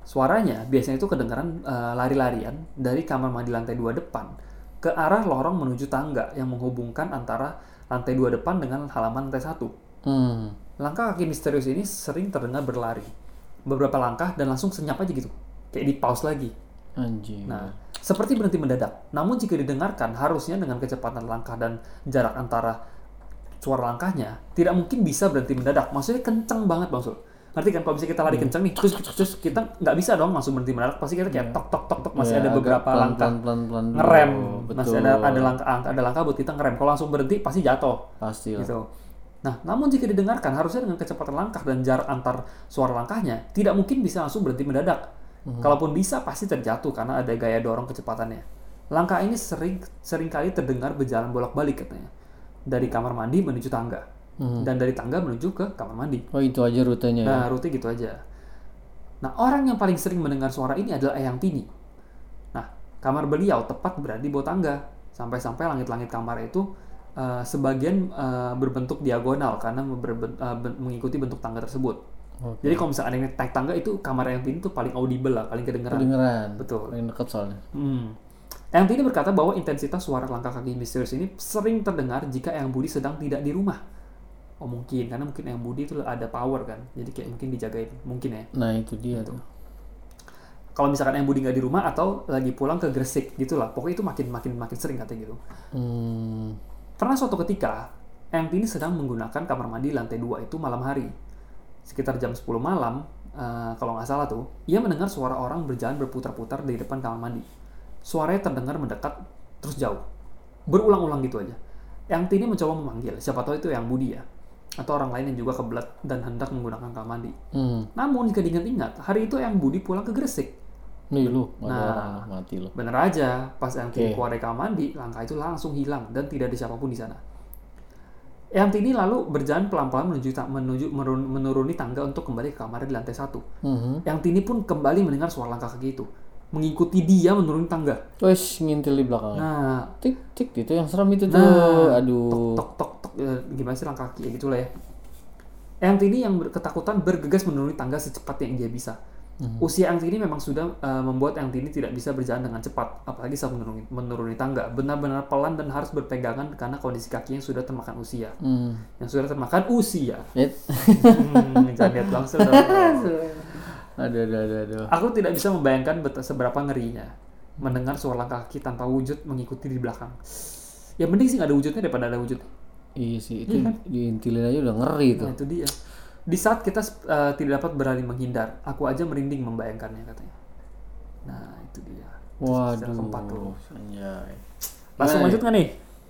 suaranya biasanya itu kedengaran eh, lari-larian dari kamar mandi lantai dua depan ke arah lorong menuju tangga yang menghubungkan antara lantai dua depan dengan halaman lantai satu.
Hmm.
Langkah kaki misterius ini sering terdengar berlari. Beberapa langkah dan langsung senyap aja gitu. Kayak di pause lagi.
Anjing.
Nah, seperti berhenti mendadak. Namun jika didengarkan, harusnya dengan kecepatan langkah dan jarak antara suara langkahnya, tidak mungkin bisa berhenti mendadak. Maksudnya kenceng banget Bang Sul. Ngerti kan? Kalau misalnya kita
Hmm.
lari kenceng nih, terus, terus, terus, kita nggak bisa dong langsung berhenti mendadak. Pasti kita kayak tok, tok, tok, tok. Masih
Ya,
ada
agak
beberapa
pelan,
langkah.
Pelan, pelan, pelan, dulu.
Ngerem.
Betul.
Masih ada, ada langkah, ada langkah buat kita ngerem. Kalau langsung berhenti, pasti jatuh
Pasti lah.
gitu. Nah, namun jika didengarkan harusnya dengan kecepatan langkah dan jarak antar suara langkahnya tidak mungkin bisa langsung berhenti mendadak.
Hmm.
Hmm. Kalaupun bisa pasti terjatuh karena ada gaya dorong kecepatannya. Langkah ini sering seringkali terdengar berjalan bolak-balik katanya. Dari kamar mandi menuju tangga dan dari tangga menuju ke kamar mandi.
Oh itu aja rutenya Hmm. ya.
Nah, rute gitu aja. Nah, orang yang paling sering mendengar suara ini adalah Eyang Tini. Nah, kamar beliau tepat berada di bawah tangga. Sampai-sampai langit-langit kamar itu eh, sebagian eh, berbentuk diagonal karena berben- eh, ben- mengikuti bentuk tangga tersebut.
Oke.
Jadi kalau misalnya ada yang naik tangga itu kamar Eyang Tini itu paling audible lah, paling kedengeran.
Kedengeran.
Betul.
Paling dekat soalnya.
Hmm. Eyang Tini berkata bahwa intensitas suara langkah kaki misterius ini sering terdengar jika Eyang Budi sedang tidak di rumah. Oh mungkin, karena mungkin Eyang Budi itu ada power kan, jadi kayak mungkin dijagain, mungkin ya.
Nah itu dia tuh.
Kalau misalkan Eyang Budi nggak di rumah atau lagi pulang ke Gresik gitu lah, pokoknya itu makin makin makin sering katanya gitu.
Hmm.
Pernah suatu ketika, Eyang Tini sedang menggunakan kamar mandi lantai dua itu malam hari. Sekitar jam 10 malam, eh, kalau nggak salah tuh, ia mendengar suara orang berjalan berputar-putar di depan kamar mandi. Suaranya terdengar mendekat, terus jauh. Berulang-ulang gitu aja. Eyang Tini mencoba memanggil, siapa tahu itu Eyang Budi ya. Atau orang lain yang juga kebelat dan hendak menggunakan kamar mandi.
Hmm.
Namun jika diingat-ingat, hari itu Eyang Budi pulang ke Gresik.
Nih lu, ada
Nah.
orang lu, mati lu.
Bener aja, pas yang
Oke.
keluar dari kamar mandi, langkah itu langsung hilang dan tidak ada siapapun di sana. Yang ini lalu berjalan pelan-pelan menuju, ta- menuju merun- menuruni tangga untuk kembali ke kamarnya di lantai satu.
Mhm.
Yang ini pun kembali mendengar suara langkah kaki itu, mengikuti dia menuruni tangga.
Wes ngintil di belakangnya.
Nah,
Tik tik itu yang serem itu tuh.
Nah,
Aduh.
tok tok tok eh, gimana sih langkah Eh, kaki ya gitulah ya. Yang ini yang ber- ketakutan bergegas menuruni tangga secepat yang dia bisa. Usia Ang Tini memang sudah eh, membuat Ang Tini tidak bisa berjalan dengan cepat, apalagi saat menuruni, menuruni tangga. Benar-benar pelan dan harus berpegangan karena kondisi kaki yang sudah termakan usia.
Hmm.
Yang sudah termakan usia.
It.
Hmm, jangan lihat langsung. dong.
aduh, aduh, aduh, aduh.
Aku tidak bisa membayangkan bet- seberapa ngerinya mendengar suara langkah kaki tanpa wujud mengikuti di belakang. Ya mending sih nggak ada wujudnya daripada ada wujud.
Iya sih, itu
kan?
diintilin aja udah ngeri itu.
Nah itu dia. Di saat kita eh, tidak dapat berani menghindar, aku aja merinding membayangkannya katanya. Nah itu dia. secara keempat Nah, tuh. Nah,
Waduh. Anjay.
Langsung lanjut nggak nih?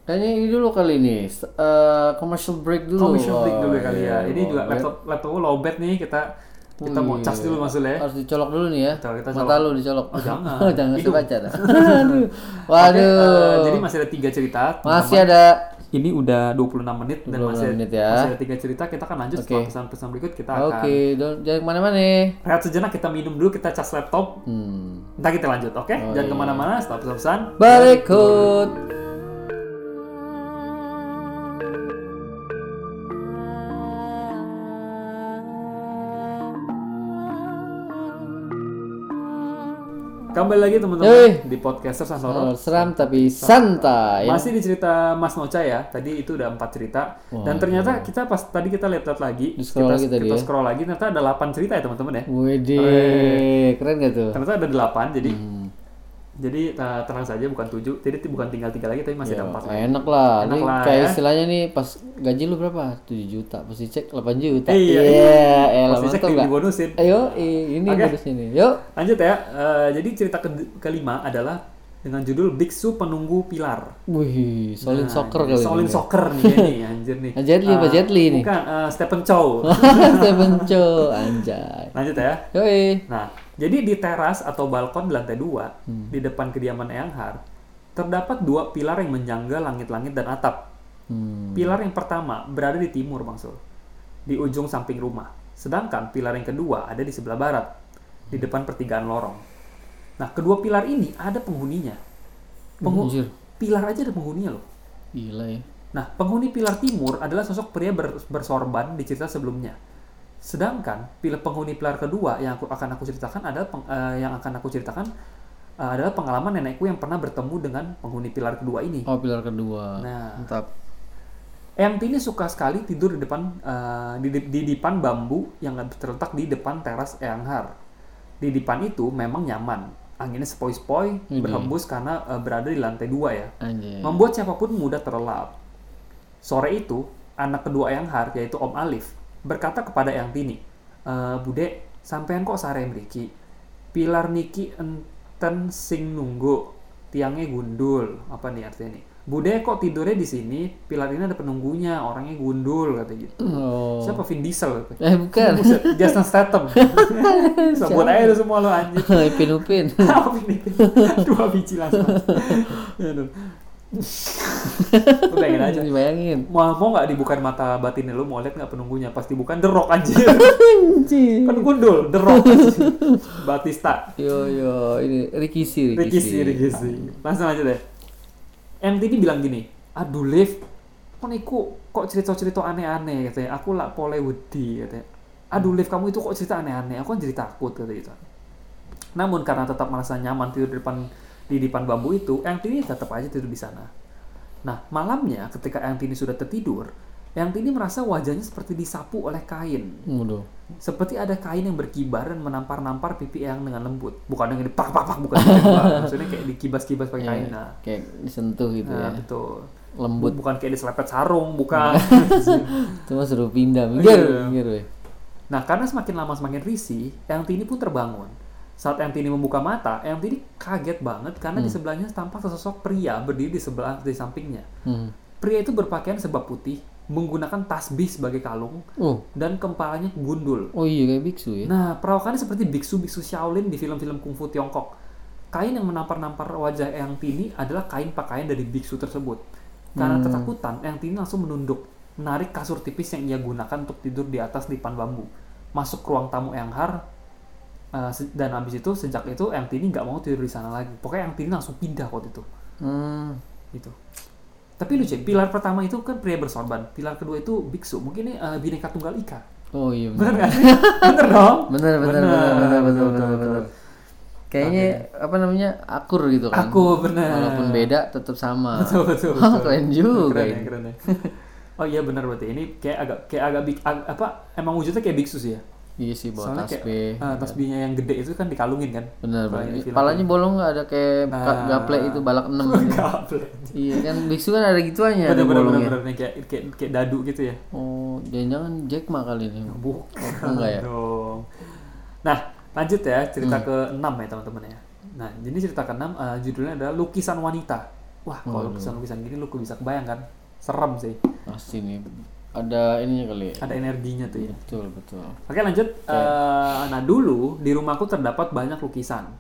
Kayaknya ini dulu kali ini, s- eh, commercial break dulu.
Commercial break
Wah,
dulu kali
iya,
ya. Ini
wah,
juga
bet-
laptop laptopku lowbat nih kita kita mau cas dulu maksudnya. ya.
Harus dicolok dulu nih ya.
Betul, kita
Mata lu dicolok.
Oh, jangan.
jangan
Hidung.
sebaca dah. Aduh.
Oke,
Waduh.
eh, jadi masih ada tiga cerita.
Masih ada
Ini udah 26 menit dan
26
masih,
menit ya.
masih ada tiga cerita. Kita akan lanjut setelah
Oke.
pesan-pesan berikut kita akan
Oke, don't- jangan kemana mana
rehat sejenak. Kita minum dulu. Kita cas laptop.
Hmm.
Nanti kita lanjut. Oke?
Oh, iya.
Jangan kemana-mana. Setelah pesan-pesan.
Berikut.
Kembali lagi
Yoi.
teman-teman di podcaster Sansoro.
Seram tapi santai.
Masih di cerita Mas Noca ya. Tadi itu udah empat cerita. Dan ternyata kita pas tadi kita lihat-lihat
iya.
lagi,
Di scroll
kita,
lagi tadi
kita
ya.
scroll lagi ternyata ada 8 cerita ya teman-teman ya.
Wede, keren gak tuh?
Ternyata ada 8 jadi
Hmm.
jadi eh, tenang saja bukan 7. Jadi ti- bukan tinggal tiga lagi tapi
Iya.
masih ada 4 lagi.
Enak lah,
Enak
ini
lah,
kayak
ya.
istilahnya nih pas gaji lu berapa? 7 juta, pasti cek 8 juta.
Iya.
elah
Pasti
mantap
cek di-
eh, nggak?
dibonusin.
Ayo, i- ini
Oke.
bonus ini. Yuk.
Lanjut ya. Eh, jadi cerita ke- kelima adalah dengan judul Biksu Penunggu Pilar.
Wih, solid
Nah,
soccer
jadi
kali
Solin
ini.
soccer nih ya nih, anjir nih.
Ah, Jet Li apa
Eh,
Jet Li nih?
Bukan, eh, Stephen Chow.
Stephen Chow, anjay.
Lanjut ya.
Yoi.
Nah, jadi di teras atau balkon di lantai dua,
Hmm.
di depan kediaman Eyang Har, terdapat dua pilar yang menjangga langit-langit dan atap.
Hmm.
Pilar yang pertama berada di timur, Bang Sul, di ujung samping rumah. Sedangkan pilar yang kedua ada di sebelah barat,
Hmm.
di depan pertigaan lorong. Nah, kedua pilar ini ada penghuninya. Penghu-
Anjir.
pilar aja ada penghuninya loh.
Gila ya.
Nah, penghuni pilar timur adalah sosok pria ber- bersorban di cerita sebelumnya. Sedangkan pil- penghuni pilar kedua yang aku akan aku ceritakan adalah peng- eh, yang akan aku ceritakan eh, adalah pengalaman nenekku yang pernah bertemu dengan penghuni pilar kedua ini.
Oh, pilar kedua.
Nah,
Mantap.
Eyang Tini suka sekali tidur di depan eh, di, di, di dipan bambu yang terletak di depan teras Eyang Har. Di dipan itu memang nyaman. Anginnya sepoi-sepoi,
Ini.
berhembus karena eh, berada di lantai dua ya
Anjay.
membuat siapapun mudah terlelap. Sore itu, anak kedua Eyang Har, yaitu Om Alif, berkata kepada Eyang Tini, e, Bude, sampean kok sare mriki? Pilar niki enten sing nunggu, tiangnya gundul. Apa nih artinya nih? Bude kok tidurnya di sini, pilar ini ada penunggunya, orangnya gundul, kata gitu.
Oh.
Siapa Vin Diesel?
Eh, bukan.
Buset, Justin Statham. Sebut aja lu semua lo anjing.
Ipin Upin.
Apa ini? Dua biji langsung. Aduh. Lu Bayangin aja.
Bayangin.
Mau mau nggak dibukain mata batinnya lu mau lihat nggak penunggunya? Pasti bukan The Rock anjir.
Anjir.
kan gundul The Rock. anjir. Batista.
Yo yo, ini Rikisi
Rikisi, Rikisi. Langsung aja Ah. deh. MTD bilang gini, aduh Liv, kok niku kok cerita-cerita aneh-aneh katanya. Aku lah pole wedi katanya. Aduh Liv, kamu itu kok cerita aneh-aneh? Aku kan jadi takut katanya gitu. Namun karena tetap merasa nyaman tidur di depan di depan bambu itu, Eyang Tini tetap aja tidur di sana. Nah, malamnya ketika Eyang Tini sudah tertidur, Eyang Tini merasa wajahnya seperti disapu oleh kain.
Waduh.
Seperti ada kain yang berkibar dan menampar-nampar pipi Eyang dengan lembut. Bukan dengan dipak-pak-pak, bukan. gitu, Pak. Maksudnya kayak dikibas-kibas pakai kain. Nah,
Kayak disentuh gitu
nah,
Iya, ya.
betul.
Lembut. Iya.
Bukan kayak diselepet sarung, bukan.
Cuma suruh pindah. Minggir,
Iya.
minggir weh.
nah, karena semakin lama semakin risih, Eyang Tini pun terbangun. Saat Eyang Tini membuka mata, Eyang Tini kaget banget karena di sebelahnya tampak sesosok pria berdiri di sebelah di sampingnya.
Hmm.
Pria itu berpakaian sebab putih, menggunakan tasbih sebagai kalung,
Oh,
dan kepalanya gundul.
oh iya kayak biksu ya.
Nah, perawakannya seperti biksu-biksu Shaolin di film-film kungfu Tiongkok. Kain yang menampar-nampar wajah Eyang Tini adalah kain pakaian dari biksu tersebut. Karena ketakutan, Eyang Tini langsung menunduk, menarik kasur tipis yang ia gunakan untuk tidur di atas dipan bambu. Masuk ke ruang tamu Eyang Har, eh, se- dan habis itu, sejak itu Eyang Tini nggak mau tidur di sana lagi. Pokoknya Eyang Tini langsung pindah waktu itu.
Hmm.
Gitu. Tapi lucu, ya, pilar pertama itu kan pria bersorban. Pilar kedua itu biksu. Mungkin ini eh, bineka tunggal ika.
Oh iya benar.
Bener nggak sih? Bener dong?
Bener bener bener bener bener bener, bener.
betul.
Kayaknya apa namanya akur gitu kan.
Aku bener.
Walaupun beda tetap sama.
Betul, betul,
Wah,
betul.
Oh, keren juga.
Keren ya,
ini.
keren ya. Oh iya benar berarti ini kayak agak kayak agak big- ag- apa emang wujudnya kayak biksu sih ya?
Iya sih bawa
Soalnya
tasbih.
kayak ah, tasbihnya yang gede itu kan dikalungin kan?
Bener
Kalau yang
bener.
di film.
Palanya bolong nggak ada kayak ka-
Ah.
gaplek itu balak enam.
Gablek.
iya kan biksu kan ada gituannya ada
Bener bener bener
bolongnya.
bener kayak kayak kayak dadu gitu ya.
Oh jangan-jangan Jack Ma kali ini.
Bukan
Oh, enggak ya? Hmm.
dong. Nah, lanjut ya cerita ke-6 ya teman-teman ya. Nah, jadi cerita ke-6 eh, judulnya adalah lukisan wanita. Wah, kalau lukisan-lukisan gini lu bisa kebayang kan? Serem sih.
Pasti nih ada ininya kali. ya.
Ada energinya tuh ya.
Betul betul.
Oke, lanjut. Eh, nah, dulu di rumahku terdapat banyak lukisan.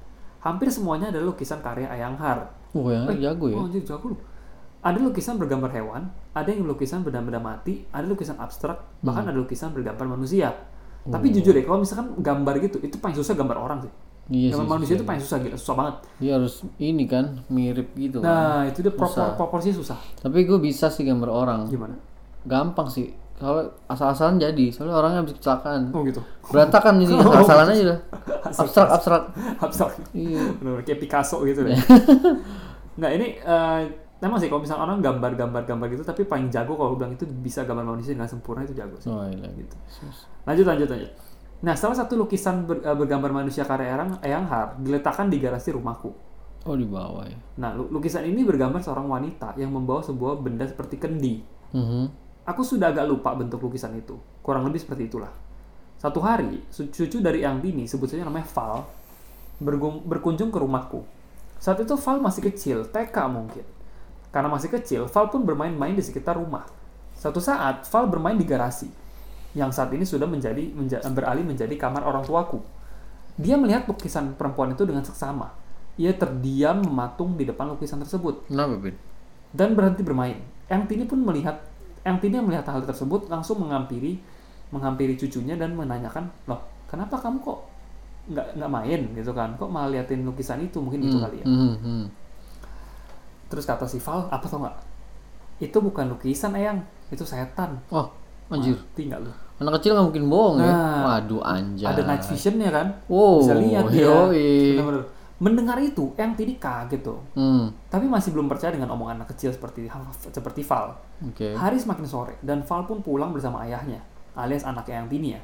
Hampir semuanya adalah lukisan karya Ayang Har.
Wah yang jago ya.
Oh, anjir, jago lu. Ada lukisan bergambar hewan, ada yang lukisan benda-benda mati, ada lukisan abstrak, bahkan ada lukisan bergambar manusia. Tapi jujur ya, kalau misalkan gambar gitu, itu paling susah gambar orang sih.
Iya sih.
gambar manusia itu paling susah, gila, susah banget.
Dia harus ini kan mirip gitu. kan.
Nah, itu dia propor proporsi susah.
Tapi gue bisa sih gambar orang.
Gimana?
Gampang sih. Kalau asal-asalan jadi, soalnya orangnya habis kecelakaan.
Oh gitu.
Berantakan jadi asal-asalan aja dah. Abstrak abstrak.
abstrak.
Iya.
Bener-bener kayak Picasso gitu deh. nah ini eh, emang sih kalau misalnya orang gambar-gambar-gambar gitu, tapi paling jago kalau gua bilang itu bisa gambar manusia dengan sempurna itu jago sih.
Oh, iya.
Gitu. Lanjut, lanjut, lanjut. Nah, salah satu lukisan ber- eh, bergambar manusia karya Eyang- Eyang Har diletakkan di garasi rumahku.
Oh di bawah ya.
Nah, lu- lukisan ini bergambar seorang wanita yang membawa sebuah benda seperti kendi.
Mhm.
Aku sudah agak lupa bentuk lukisan itu. Kurang lebih seperti itulah. Satu hari, su- cucu dari Eyang Dini, sebut saja namanya Val, bergung- berkunjung ke rumahku. Saat itu Val masih kecil, TK mungkin. Karena masih kecil, Val pun bermain-main di sekitar rumah. Suatu saat, Val bermain di garasi, yang saat ini sudah menjadi menja- beralih menjadi kamar orang tuaku. Dia melihat lukisan perempuan itu dengan seksama. Ia terdiam mematung di depan lukisan tersebut
Kenapa Bin?
dan berhenti bermain. Yang Tini pun melihat yang Tini yang melihat hal tersebut langsung menghampiri menghampiri cucunya dan menanyakan, "Loh, kenapa kamu kok nggak nggak main gitu kan? Kok malah liatin lukisan itu mungkin gitu kali ya?"
Mhm, mhm.
Terus kata si Val, "Apa tau nggak? Itu bukan lukisan, Eyang. Itu setan."
Oh anjir.
Mati nggak lu?
Anak kecil nggak mungkin bohong ya.
Nah.
Waduh anjir.
Ada night visionnya kan?
Ya. Wow.
Bisa lihat dia.
yoi.
Bener-bener. Mendengar itu, Eyang Tini kaget tuh.
Hmm.
Tapi masih belum percaya dengan omongan anak kecil seperti seperti Val.
Oke.
Hari semakin sore dan Val pun pulang bersama ayahnya, alias anaknya yang Tini ya.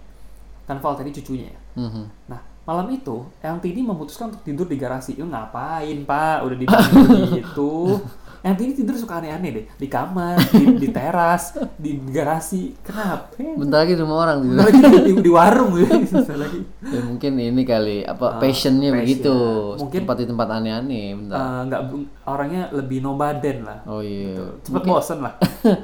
Kan Val tadi cucunya ya.
Mhm.
Nah, malam itu Yang Tini memutuskan untuk tidur di garasi. Lu ngapain, Pak? Udah dibangun gitu. Yang Tini tidur suka aneh-aneh deh, di kamar, di, di teras, di garasi. Kenapa?
Bentar lagi rumah orang gitu.
Bentar lagi di, di warung gitu. Bentar lagi.
ya mungkin ini kali apa
Ah,
passionnya
passion.
begitu.
Mungkin-
tempat di tempat aneh-aneh. Bentar.
Eh, nggak orangnya lebih nomaden lah.
oh iya.
Cepet bosen lah.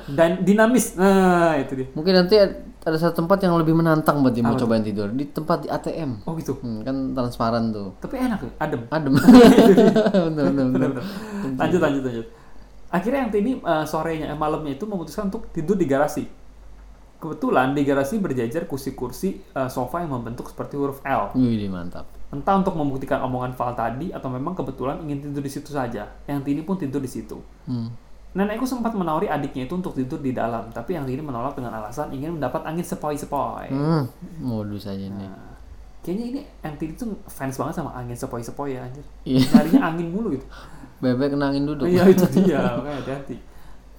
Dan dinamis. Nah, itu dia.
Mungkin nanti ad- ada satu tempat yang lebih menantang buat dia mau cobain tidur di tempat di ATM.
Oh gitu.
Hmm, kan transparan tuh.
Tapi enak ya, adem.
Adem. bener, bener, bener.
Bener-bener. lanjut lanjut lanjut akhirnya yang ini eh, sorenya eh, malamnya itu memutuskan untuk tidur di garasi kebetulan di garasi berjajar kursi-kursi eh, sofa yang membentuk seperti huruf L
Wih, mantap.
entah untuk membuktikan omongan Val tadi atau memang kebetulan ingin tidur di situ saja yang ini pun tidur di situ
Hmm.
nenekku sempat menawari adiknya itu untuk tidur di dalam tapi yang ini menolak dengan alasan ingin mendapat angin sepoi-sepoi
Hmm, modus aja nih.
Nah, kayaknya ini yang ini tuh fans banget sama angin sepoi-sepoi ya anjir
Iya,
larinya angin mulu gitu
bebek kenangin duduk.
Iya itu dia, makanya hati-hati.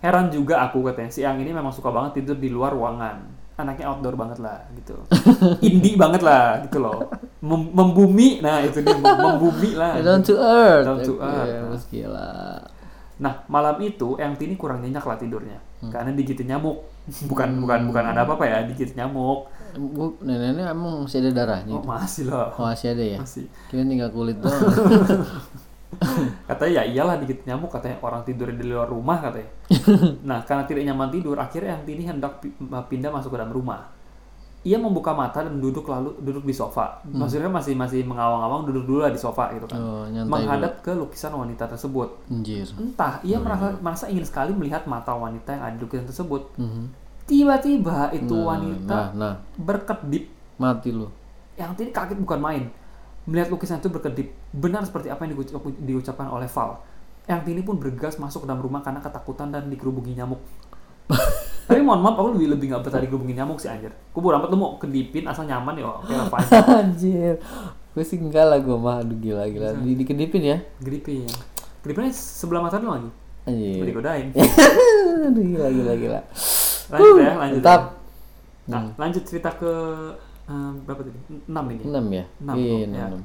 Heran juga aku katanya, si Ang ini memang suka banget tidur di luar ruangan. Anaknya outdoor banget lah gitu. Indie banget lah gitu loh. Mem- membumi, nah itu dia, mem- membumi lah.
Eh,
gitu.
Down to earth.
Down to
Iya,
earth.
bos gila.
Nah malam itu Ang Tini kurang nyenyak lah tidurnya. Karena digigit nyamuk. Bukan bukan bukan ada apa-apa ya, digigit nyamuk.
Bu, neneknya emang masih ada darahnya.
Oh, masih loh.
Oh, masih ada ya?
Masih.
Kira tinggal kulit doang.
Katanya ya iyalah digigit nyamuk katanya orang tidur di luar rumah katanya. nah karena tidak nyaman tidur akhirnya yang tini hendak pi- pindah masuk ke dalam rumah. Ia membuka mata dan duduk lalu duduk di sofa. Maksudnya masih masih mengawang-awang duduk dulu lah di sofa gitu kan.
Hmm. Oh, nyantai dulu.
Menghadap ke lukisan wanita tersebut.
Anjir.
Entah
Oh,
ia merasa,
iya.
merasa ingin sekali melihat mata wanita yang ada di lukisan tersebut.
Mhm.
Tiba-tiba itu
Nah,
wanita
Nah, nah,
berkedip
mati lu.
yang tadi kaget bukan main melihat lukisan itu berkedip benar seperti apa yang diucap- diucapkan oleh Val yang tini pun bergegas masuk ke dalam rumah karena ketakutan dan dikerubuki nyamuk tapi Tapi mohon maaf, aku lebih lebih nggak betah digerubungin nyamuk sih anjir. Gue bodo amat lu mau kedipin asal nyaman ya, oke lah fine.
Anjir. Gue sih enggak lah gue mah. Aduh gila gila. Di, dikedipin ya.
Kedipin. Kedipinnya sebelah mata lu lagi. Udah
Anjir.
digodain.
Aduh gila gila gila.
Lanjut ya, lanjut.
Tetap
ya. Nah,
Hmm.
lanjut cerita ke eh, berapa tadi? 6 ini.
6 ya.
Enam,
Iya,
enam,
enam,
ya.
enam.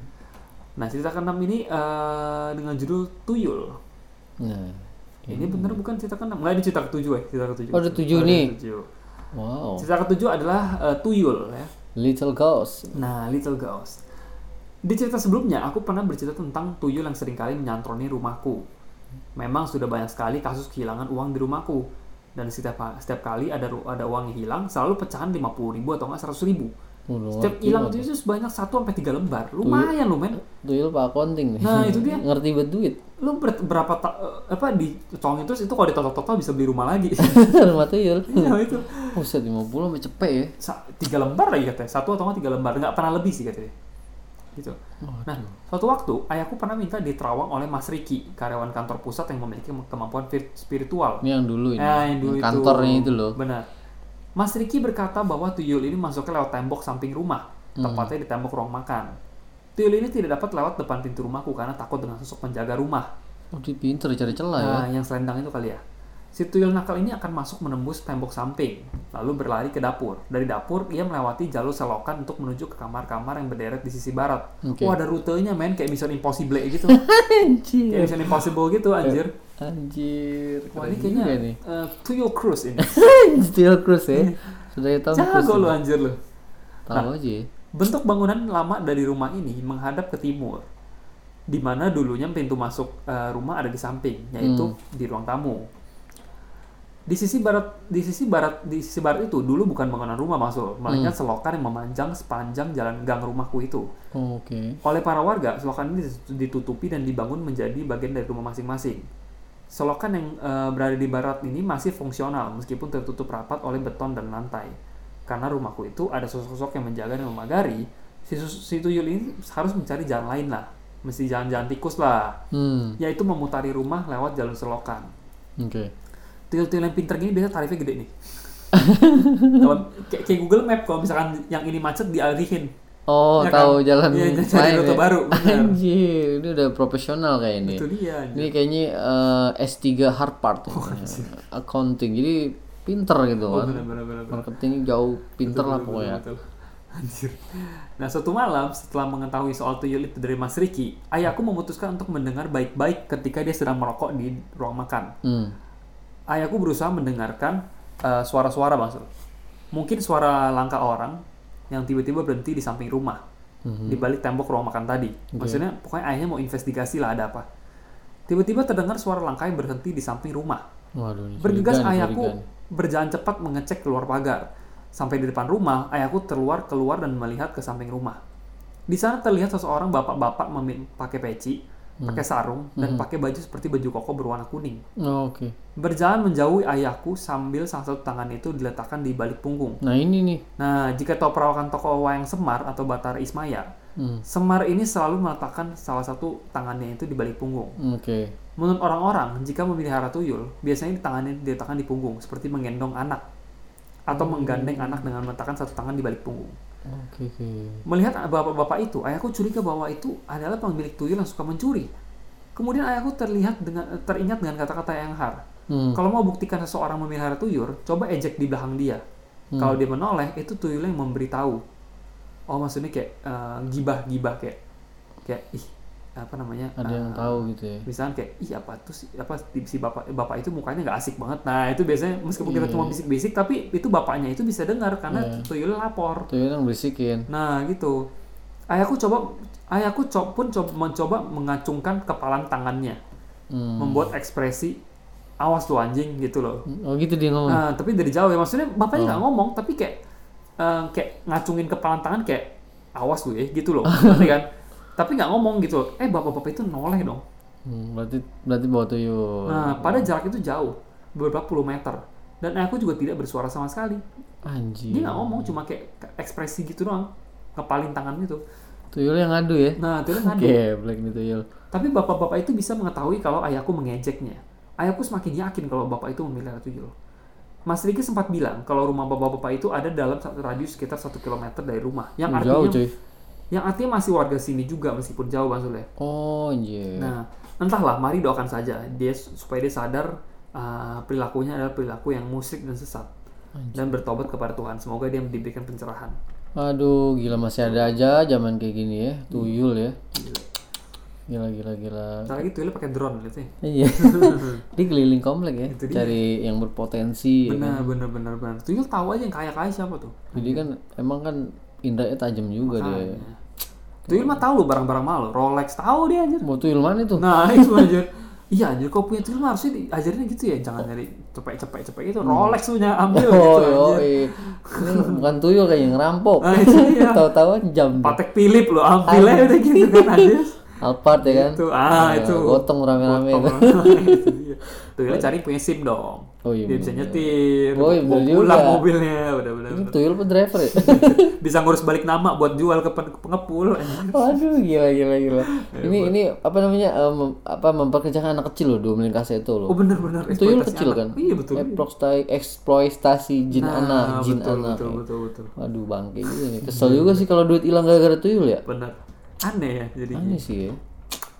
Nah, cerita ke-6 ini eh, dengan judul Tuyul.
Nah.
Ini bener bukan cerita ke-6. Enggak, ini cerita ke-7 ya, cerita ke-7.
Oh, ada tujuh
Ada
nih. Oh.
tujuh.
Wow.
Cerita ke-7 adalah eh, Tuyul ya.
Little Ghost.
Nah, Little Ghost. Di cerita sebelumnya, aku pernah bercerita tentang tuyul yang seringkali menyantroni rumahku. Memang sudah banyak sekali kasus kehilangan uang di rumahku. Dan setiap, setiap kali ada ru- ada uang yang hilang, selalu pecahan 50 ribu atau nggak 100 ribu.
Oh, lu
Setiap
ngerti
hilang ya?
banget.
itu itu sebanyak 1 sampai 3 lembar. Lumayan lu men.
Tuyul pak accounting nih.
Nah, itu dia.
Ngerti banget duit.
Lu ber- berapa ta- eh, apa di congin terus itu kalau ditotal-total bisa beli rumah lagi.
Rumah tuyul.
Iya, itu.
Buset 50 sampai cepet ya.
Sa- tiga lembar lagi katanya satu atau nggak tiga lembar nggak pernah lebih sih katanya gitu nah suatu waktu ayahku pernah minta diterawang oleh Mas Riki karyawan kantor pusat yang memiliki kemampuan fir- spiritual
Ini yang dulu ini.
Eh, yang dulu
kantornya itu, loh.
benar Mas Riki berkata bahwa tuyul ini masuknya lewat tembok samping rumah
Hmm.
tepatnya di tembok ruang makan tuyul ini tidak dapat lewat depan pintu rumahku karena takut dengan sosok penjaga rumah
Oh, dia pinter cari celah ya.
Nah, yang selendang itu kali ya. Si tuyul nakal ini akan masuk menembus tembok samping, lalu berlari ke dapur. Dari dapur, ia melewati jalur selokan untuk menuju ke kamar-kamar yang berderet di sisi barat.
Oke.
Wah, ada rutenya, men. Kayak Mission Impossible gitu.
Anjir.
kayak Mission Impossible gitu, anjir.
Anjir.
Wah,
Keren
ini kayaknya
juga nih.
eh, tuyul cruise ini.
Steel Cruise ya. Sudah ya Tom Cruise.
Iya. Jago Nah. lu, anjir lu.
Tahu aja ya.
Bentuk bangunan lama dari rumah ini menghadap ke timur, di mana dulunya pintu masuk eh, rumah ada di samping, yaitu di ruang tamu. Di sisi barat, di sisi barat, di sisi barat itu dulu bukan bangunan rumah masuk, melainkan selokan yang memanjang sepanjang jalan gang rumahku itu.
Oh, Oke.
Oleh para warga, selokan ini ditutupi dan dibangun menjadi bagian dari rumah masing-masing. Selokan yang eh, berada di barat ini masih fungsional meskipun tertutup rapat oleh beton dan lantai. Karena rumahku itu ada sosok-sosok yang menjaga dan memagari, si, sus- si tuyul ini harus mencari jalan lain lah. Mesti jalan-jalan tikus lah.
Hmm.
Yaitu memutari rumah lewat jalur selokan.
Oke.
Tuyul-tuyul yang pinter gini biasanya tarifnya gede nih. kalau kayak, kayak Google Map kalau misalkan yang ini macet dialihin.
Oh,
Ya kan?
tahu jalan
Iya,
lain
cari rute
ya?
baru, benar.
Anjir, ini udah profesional kayak ini.
Itu dia. anjir.
Ini kayaknya eh, S3 hard part. ya. accounting. Jadi pinter gitu
Oh,
kan.
bener-bener. bener-bener.
Marketing jauh pinter lah pokoknya.
Betul. Anjir. Nah, suatu malam setelah mengetahui soal tuyul itu dari Mas Riki, ayahku memutuskan untuk mendengar baik-baik ketika dia sedang merokok di ruang makan.
Hmm.
Ayahku berusaha mendengarkan eh, suara-suara, Mas. Mungkin suara langkah orang yang tiba-tiba berhenti di samping rumah,
Mhm.
di balik tembok ruang makan tadi. Maksudnya, pokoknya ayahnya mau investigasi lah ada apa. Tiba-tiba terdengar suara langkah yang berhenti di samping rumah.
Waduh, ini
Bergegas
curiga nih,
ayahku
curiga nih.
berjalan cepat mengecek keluar pagar. Sampai di depan rumah, ayahku terluar keluar dan melihat ke samping rumah. Di sana terlihat seseorang bapak-bapak memi- pakai peci,
Hmm.
pakai sarung, dan pakai baju seperti baju koko berwarna kuning.
Oh, Oke.
Berjalan menjauhi ayahku sambil salah satu tangan itu diletakkan di balik punggung.
Nah, ini nih.
Nah, jika tahu perawakan tokoh wayang Semar atau Batara Ismaya,
Hmm.
Semar ini selalu meletakkan salah satu tangannya itu di balik punggung.
Oke.
Menurut orang-orang, jika memelihara tuyul, biasanya tangannya diletakkan di punggung, seperti menggendong anak atau
Hmm.
menggandeng anak dengan meletakkan satu tangan di balik punggung.
Oke, oke.
Melihat bapak-bapak itu, ayahku curiga bahwa itu adalah pemilik tuyul yang suka mencuri. Kemudian ayahku terlihat dengan teringat dengan kata-kata yang har.
Hmm.
Kalau mau buktikan seseorang memelihara tuyul, coba ejek di belakang dia.
Hmm.
Kalau dia menoleh, itu tuyul yang memberitahu. Oh, maksudnya kayak eh, gibah-gibah kayak kayak ih apa namanya?
Ada yang
eh,
tahu gitu ya.
misalkan kayak ih apa tuh sih apa si bapak eh, bapak itu mukanya nggak asik banget nah itu biasanya meskipun kita cuma bisik-bisik tapi itu bapaknya itu bisa dengar karena tuyul lapor
Tuyul yang berisikin.
nah gitu ayahku coba ayahku co- pun coba mencoba mengacungkan kepalan tangannya
Hmm.
membuat ekspresi awas tuh anjing gitu loh
Oh gitu dia ngomong.
Nah, tapi dari jauh ya maksudnya bapaknya nggak ngomong tapi kayak eh, kayak ngacungin kepalan tangan kayak awas lu ya gitu loh Ngerti kan tapi nggak ngomong gitu loh. eh bapak-bapak itu noleh dong
Hmm, berarti berarti bawa tuyul.
Nah, pada jarak itu jauh, beberapa puluh meter. Dan aku juga tidak bersuara sama sekali.
Anjir.
Dia nggak ngomong, cuma kayak ekspresi gitu doang. Ngepalin tangan gitu.
Tuyul yang ngadu ya.
Nah, itu kan
Oke, black nih tuyul.
Tapi bapak-bapak itu bisa mengetahui kalau ayahku mengejeknya. Ayahku semakin yakin kalau bapak itu memelihara tuyul. Mas Riki sempat bilang kalau rumah bapak-bapak itu ada dalam satu radius sekitar 1 km dari rumah. Yang artinya
Hmm, Jauh cuy.
yang artinya masih warga sini juga meskipun jauh Bang Sule.
Oh anjir.
Nah, entahlah, mari doakan saja dia supaya dia sadar uh, perilakunya adalah perilaku yang musik dan sesat dan bertobat kepada Tuhan. Semoga dia diberikan pencerahan.
Aduh gila masih ada aja zaman kayak gini ya. Tuyul ya. Gila gila gila.
Ntar lagi tuyulnya pakai drone gitu ya.
Iya. Dia keliling komplek ya. Cari yang berpotensi. ya.
Benar, benar, benar, benar. Tuyul tahu aja yang kaya-kaya siapa tuh.
Jadi kan emang kan indranya tajam juga dia.
Tuyul mah tahu loh barang-barang mahal, loh. Rolex tahu dia anjir.
Mau tuyul mana itu?
Nah, itu anjir. Iya anjir, kau punya tuyul mah harusnya diajarin gitu ya, jangan nyari cepek-cepek-cepek itu. Rolex punya ambil
Hmm. Oh,
gitu.
yo, bukan tuyul kayak yang ngerampok.
Nah, itu iya.
Tahu-tahu jam
Patek Philip loh, ambil aja udah gitu kan anjir.
Alphard ya kan.
Itu ah
Ya,
itu.
Gotong rame-rame itu.
Itu dia. Tuyulnya Iya. cari punya SIM dong.
Oh iya.
Dia bisa nyetir,
Oh, iya,
bawa
bener
pulang
juga.
mobilnya, benar-benar.
Ini tuyul apa driver ya?
bisa ngurus balik nama buat jual ke pen- pengepul. anjir.
Waduh, gila gila gila. Ini ini apa namanya? eh, mem- apa memperkerjakan anak kecil loh, dua kasa itu
Oh
loh.
benar-benar
tuyul
eksploitasi
kecil
anak.
kan?
Iya betul.
Eksploitasi eksploitasi jin anak,
Ah,
jin
betul,
anak. ya.
betul, betul, betul. Iya.
Waduh, bangke juga nih. Kesel juga sih kalau duit hilang gara-gara tuyul ya.
Benar. Aneh ya jadinya.
Ini sih ya.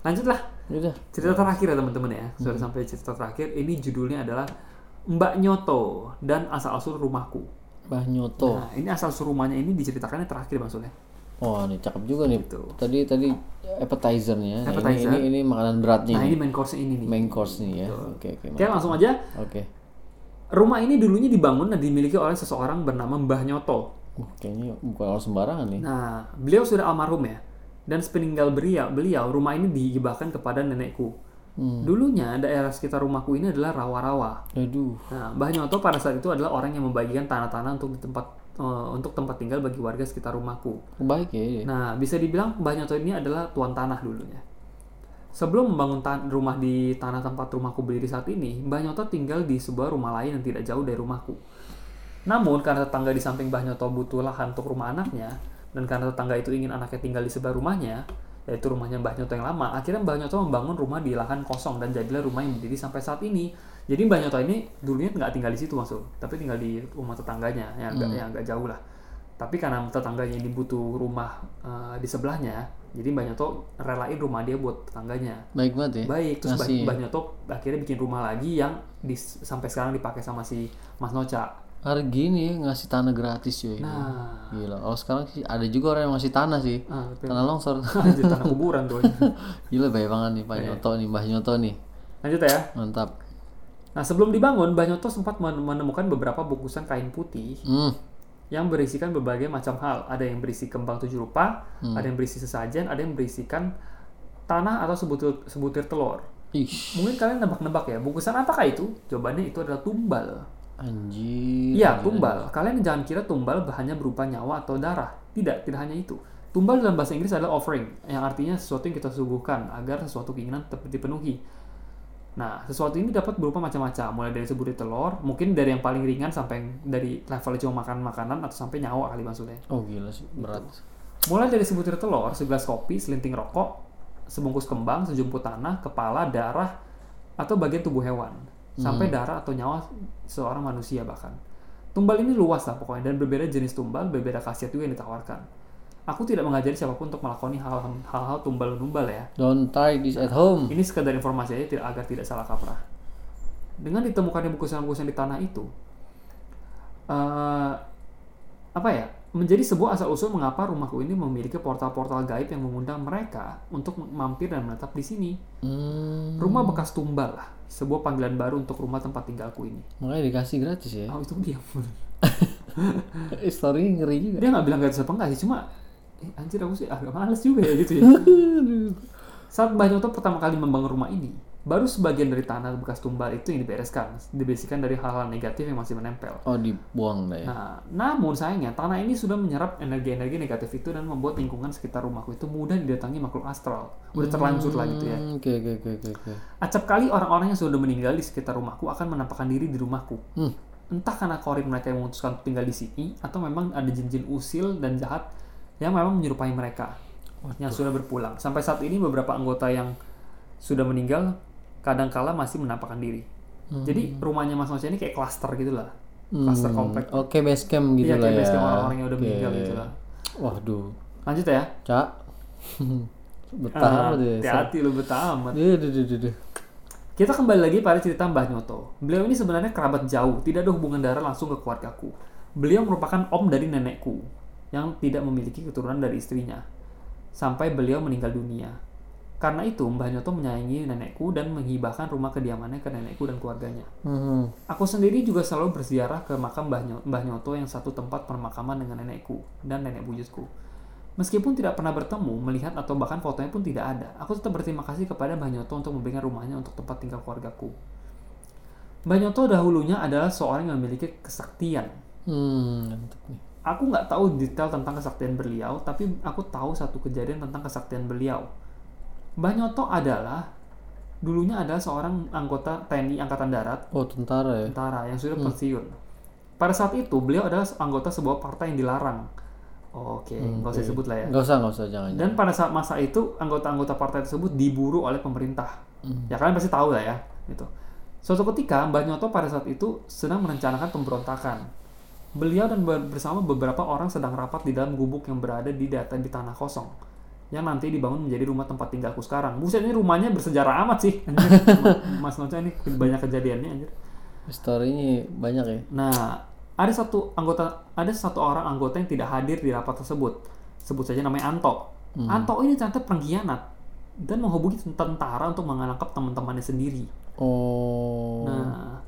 Lanjutlah
Udah.
cerita terakhir ya teman-teman ya.
Hmm.
Sudah sampai cerita terakhir. Ini judulnya adalah Mbak Nyoto dan asal-usul rumahku.
Bah nyoto.
Nah, ini asal-usul rumahnya ini diceritakannya terakhir maksudnya.
Wah, ini cakep juga nih.
Gitu.
Tadi tadi appetizernya. Nah, ini,
Appetizer.
ini ini makanan beratnya.
Nah,
nih.
ini main course ini nih.
Main course nih ya. Oke oke.
Oke,
mantap.
langsung aja.
Oke.
Rumah ini dulunya dibangun dan dimiliki oleh seseorang bernama Mbah Nyoto.
Wah, Uh, kayaknya bukan orang sembarangan nih.
Nah, beliau sudah almarhum ya. Dan sepeninggal beria- beliau, rumah ini dihibahkan kepada nenekku. Dulunya daerah sekitar rumahku ini adalah rawa-rawa.
Aduh.
Nah, Mbah Nyoto pada saat itu adalah orang yang membagikan tanah-tanah untuk di tempat eh, untuk tempat tinggal bagi warga sekitar rumahku.
Baik ya. ya.
Nah, bisa dibilang Mbah Nyoto ini adalah tuan tanah dulunya. Sebelum membangun tan- rumah di tanah tempat rumahku berdiri saat ini, Mbah Nyoto tinggal di sebuah rumah lain yang tidak jauh dari rumahku. Namun, karena tetangga di samping Mbah Nyoto butuh lahan untuk rumah anaknya, dan karena tetangga itu ingin anaknya tinggal di sebelah rumahnya, yaitu rumahnya Mbah Nyoto yang lama, akhirnya Mbah Nyoto membangun rumah di lahan kosong dan jadilah rumah yang berdiri sampai saat ini. Jadi Mbah Nyoto ini dulunya nggak tinggal di situ masuk, tapi tinggal di rumah tetangganya yang agak, yang agak jauh lah. Tapi karena tetangganya ini butuh rumah eh, di sebelahnya, jadi Mbah Nyoto relain rumah dia buat tetangganya
Baik banget ya.
baik terus
Ngasih.
Mbak Nyoto akhirnya bikin rumah lagi yang di- sampai sekarang dipakai sama si Mas Noca
Hari gini ya, ngasih tanah gratis cuy.
nah
Gila. Kalau sekarang sih ada juga orang yang ngasih tanah sih.
ah, itu.
Tanah longsor.
lanjut tanah kuburan tuh
Gila baik banget nih
Iya.
Pak Nyoto nih, Mbah Nyoto nih.
lanjut ya
Mantap.
nah sebelum dibangun Mbak Nyoto sempat men- menemukan beberapa bungkusan kain putih
Hmm.
yang berisikan berbagai macam hal ada yang berisi kembang tujuh rupa ada yang berisi sesajen ada yang berisikan tanah atau sebutir sebutir telur
Ih,
mungkin kalian nebak-nebak ya bungkusan apakah itu jawabannya itu adalah tumbal
anjir.
Iya, tumbal. Kalian jangan kira tumbal bahannya berupa nyawa atau darah. Tidak, tidak hanya itu. Tumbal dalam bahasa Inggris adalah offering, yang artinya sesuatu yang kita suguhkan agar sesuatu keinginan tetap dipenuhi. Nah, sesuatu ini dapat berupa macam-macam, mulai dari sebutir telur, mungkin dari yang paling ringan sampai yang- dari levelnya cuma makan makanan atau sampai nyawa kali maksudnya.
Oh gila sih, berat.
Mulai dari sebutir telur, segelas kopi, selinting rokok, sebungkus kembang, sejumput tanah, kepala, darah, atau bagian tubuh hewan. Sampai darah atau nyawa seorang manusia bahkan. Tumbal ini luas lah pokoknya, dan berbeda jenis tumbal, berbeda khasiat juga yang ditawarkan. Aku tidak mengajari siapapun untuk melakoni hal- hal-hal tumbal-tumbal ya.
Don't try this at home.
Ini sekedar informasi aja tidak, agar tidak salah kaprah. Dengan ditemukannya bungkusan-bungkusan di tanah itu, eh, apa ya? Menjadi sebuah asal-usul mengapa rumahku ini memiliki portal-portal gaib yang mengundang mereka untuk mampir dan menetap di sini.
Hmm.
Rumah bekas tumbal lah, sebuah panggilan baru untuk rumah tempat tinggalku ini.
Makanya dikasih gratis ya.
Oh itu dia.
Eh, Story ngeri juga.
Dia nggak bilang gratis apa enggak sih, cuma eh, anjir aku sih agak males juga ya gitu ya. Saat Mbah Nyoto pertama kali membangun rumah ini, baru sebagian dari tanah bekas tumbal itu yang dibereskan, dibersihkan dari hal-hal negatif yang masih menempel.
Oh dibuang dah ya.
Nah, namun sayangnya tanah ini sudah menyerap energi-energi negatif itu dan membuat lingkungan sekitar rumahku itu mudah didatangi makhluk astral. Udah terlanjur lah gitu ya.
Hmm, Oke oke oke oke, oke.
Acap kali orang-orang yang sudah meninggal di sekitar rumahku akan menampakkan diri di rumahku.
Hmm.
Entah karena korin mereka yang memutuskan untuk tinggal di sini atau memang ada jin-jin usil dan jahat yang memang menyerupai mereka yang sudah berpulang. Sampai saat ini beberapa anggota yang sudah meninggal kadangkala masih menampakkan diri. Jadi rumahnya Mas Noce ini kayak klaster gitu lah.
Hmm.
Cluster komplek.
Oke, base camp gitu
Iya,
lah
kayak
ya.
base camp orang-orang yang udah meninggal
Oke.
gitu lah.
Waduh,
Lanjut ya.
Cak. Betah
Ah,
apa deh.
Hati-hati lu betah amat.
Duh, duh, duh, duh, duh.
Kita kembali lagi pada cerita Mbah Nyoto. Beliau ini sebenarnya kerabat jauh, tidak ada hubungan darah langsung ke keluargaku. Beliau merupakan om dari nenekku, yang tidak memiliki keturunan dari istrinya, sampai beliau meninggal dunia. Karena itu, Mbah Nyoto menyayangi nenekku dan menghibahkan rumah kediamannya ke nenekku dan keluarganya.
Mhm.
Aku sendiri juga selalu berziarah ke makam Mbah, Nyo- Mbah Nyoto yang satu tempat permakaman dengan nenekku dan nenek buyutku. Meskipun tidak pernah bertemu, melihat atau bahkan fotonya pun tidak ada, aku tetap berterima kasih kepada Mbah Nyoto untuk memberikan rumahnya untuk tempat tinggal keluargaku. Mbah Nyoto dahulunya adalah seorang yang memiliki kesaktian.
Hmm, mantap nih.
Aku nggak tahu detail tentang kesaktian beliau, tapi aku tahu satu kejadian tentang kesaktian beliau. Mbah Nyoto adalah dulunya adalah seorang anggota TNI Angkatan Darat
Oh, tentara ya.
tentara yang sudah pensiun. Pada saat itu beliau adalah anggota sebuah partai yang dilarang. Oke, nggak usah disebut lah ya.
Enggak usah, enggak Hmm, iya. usah jangan.
Dan pada saat masa itu anggota-anggota partai tersebut diburu oleh pemerintah.
Hmm.
Ya kalian pasti tahu lah ya, gitu. Suatu ketika Mbah Nyoto pada saat itu sedang merencanakan pemberontakan. Beliau dan ber- bersama beberapa orang sedang rapat di dalam gubuk yang berada di data di tanah kosong yang nanti dibangun menjadi rumah tempat tinggalku sekarang. Buset ini rumahnya bersejarah amat sih. Anjir. Mas Noca ini banyak kejadiannya anjir.
Story-nya banyak ya.
Nah, ada satu anggota ada satu orang anggota yang tidak hadir di rapat tersebut. Sebut saja namanya Anto.
Hmm.
Anto ini ternyata pengkhianat dan menghubungi tentara untuk menangkap teman-temannya sendiri.
Oh.
Nah,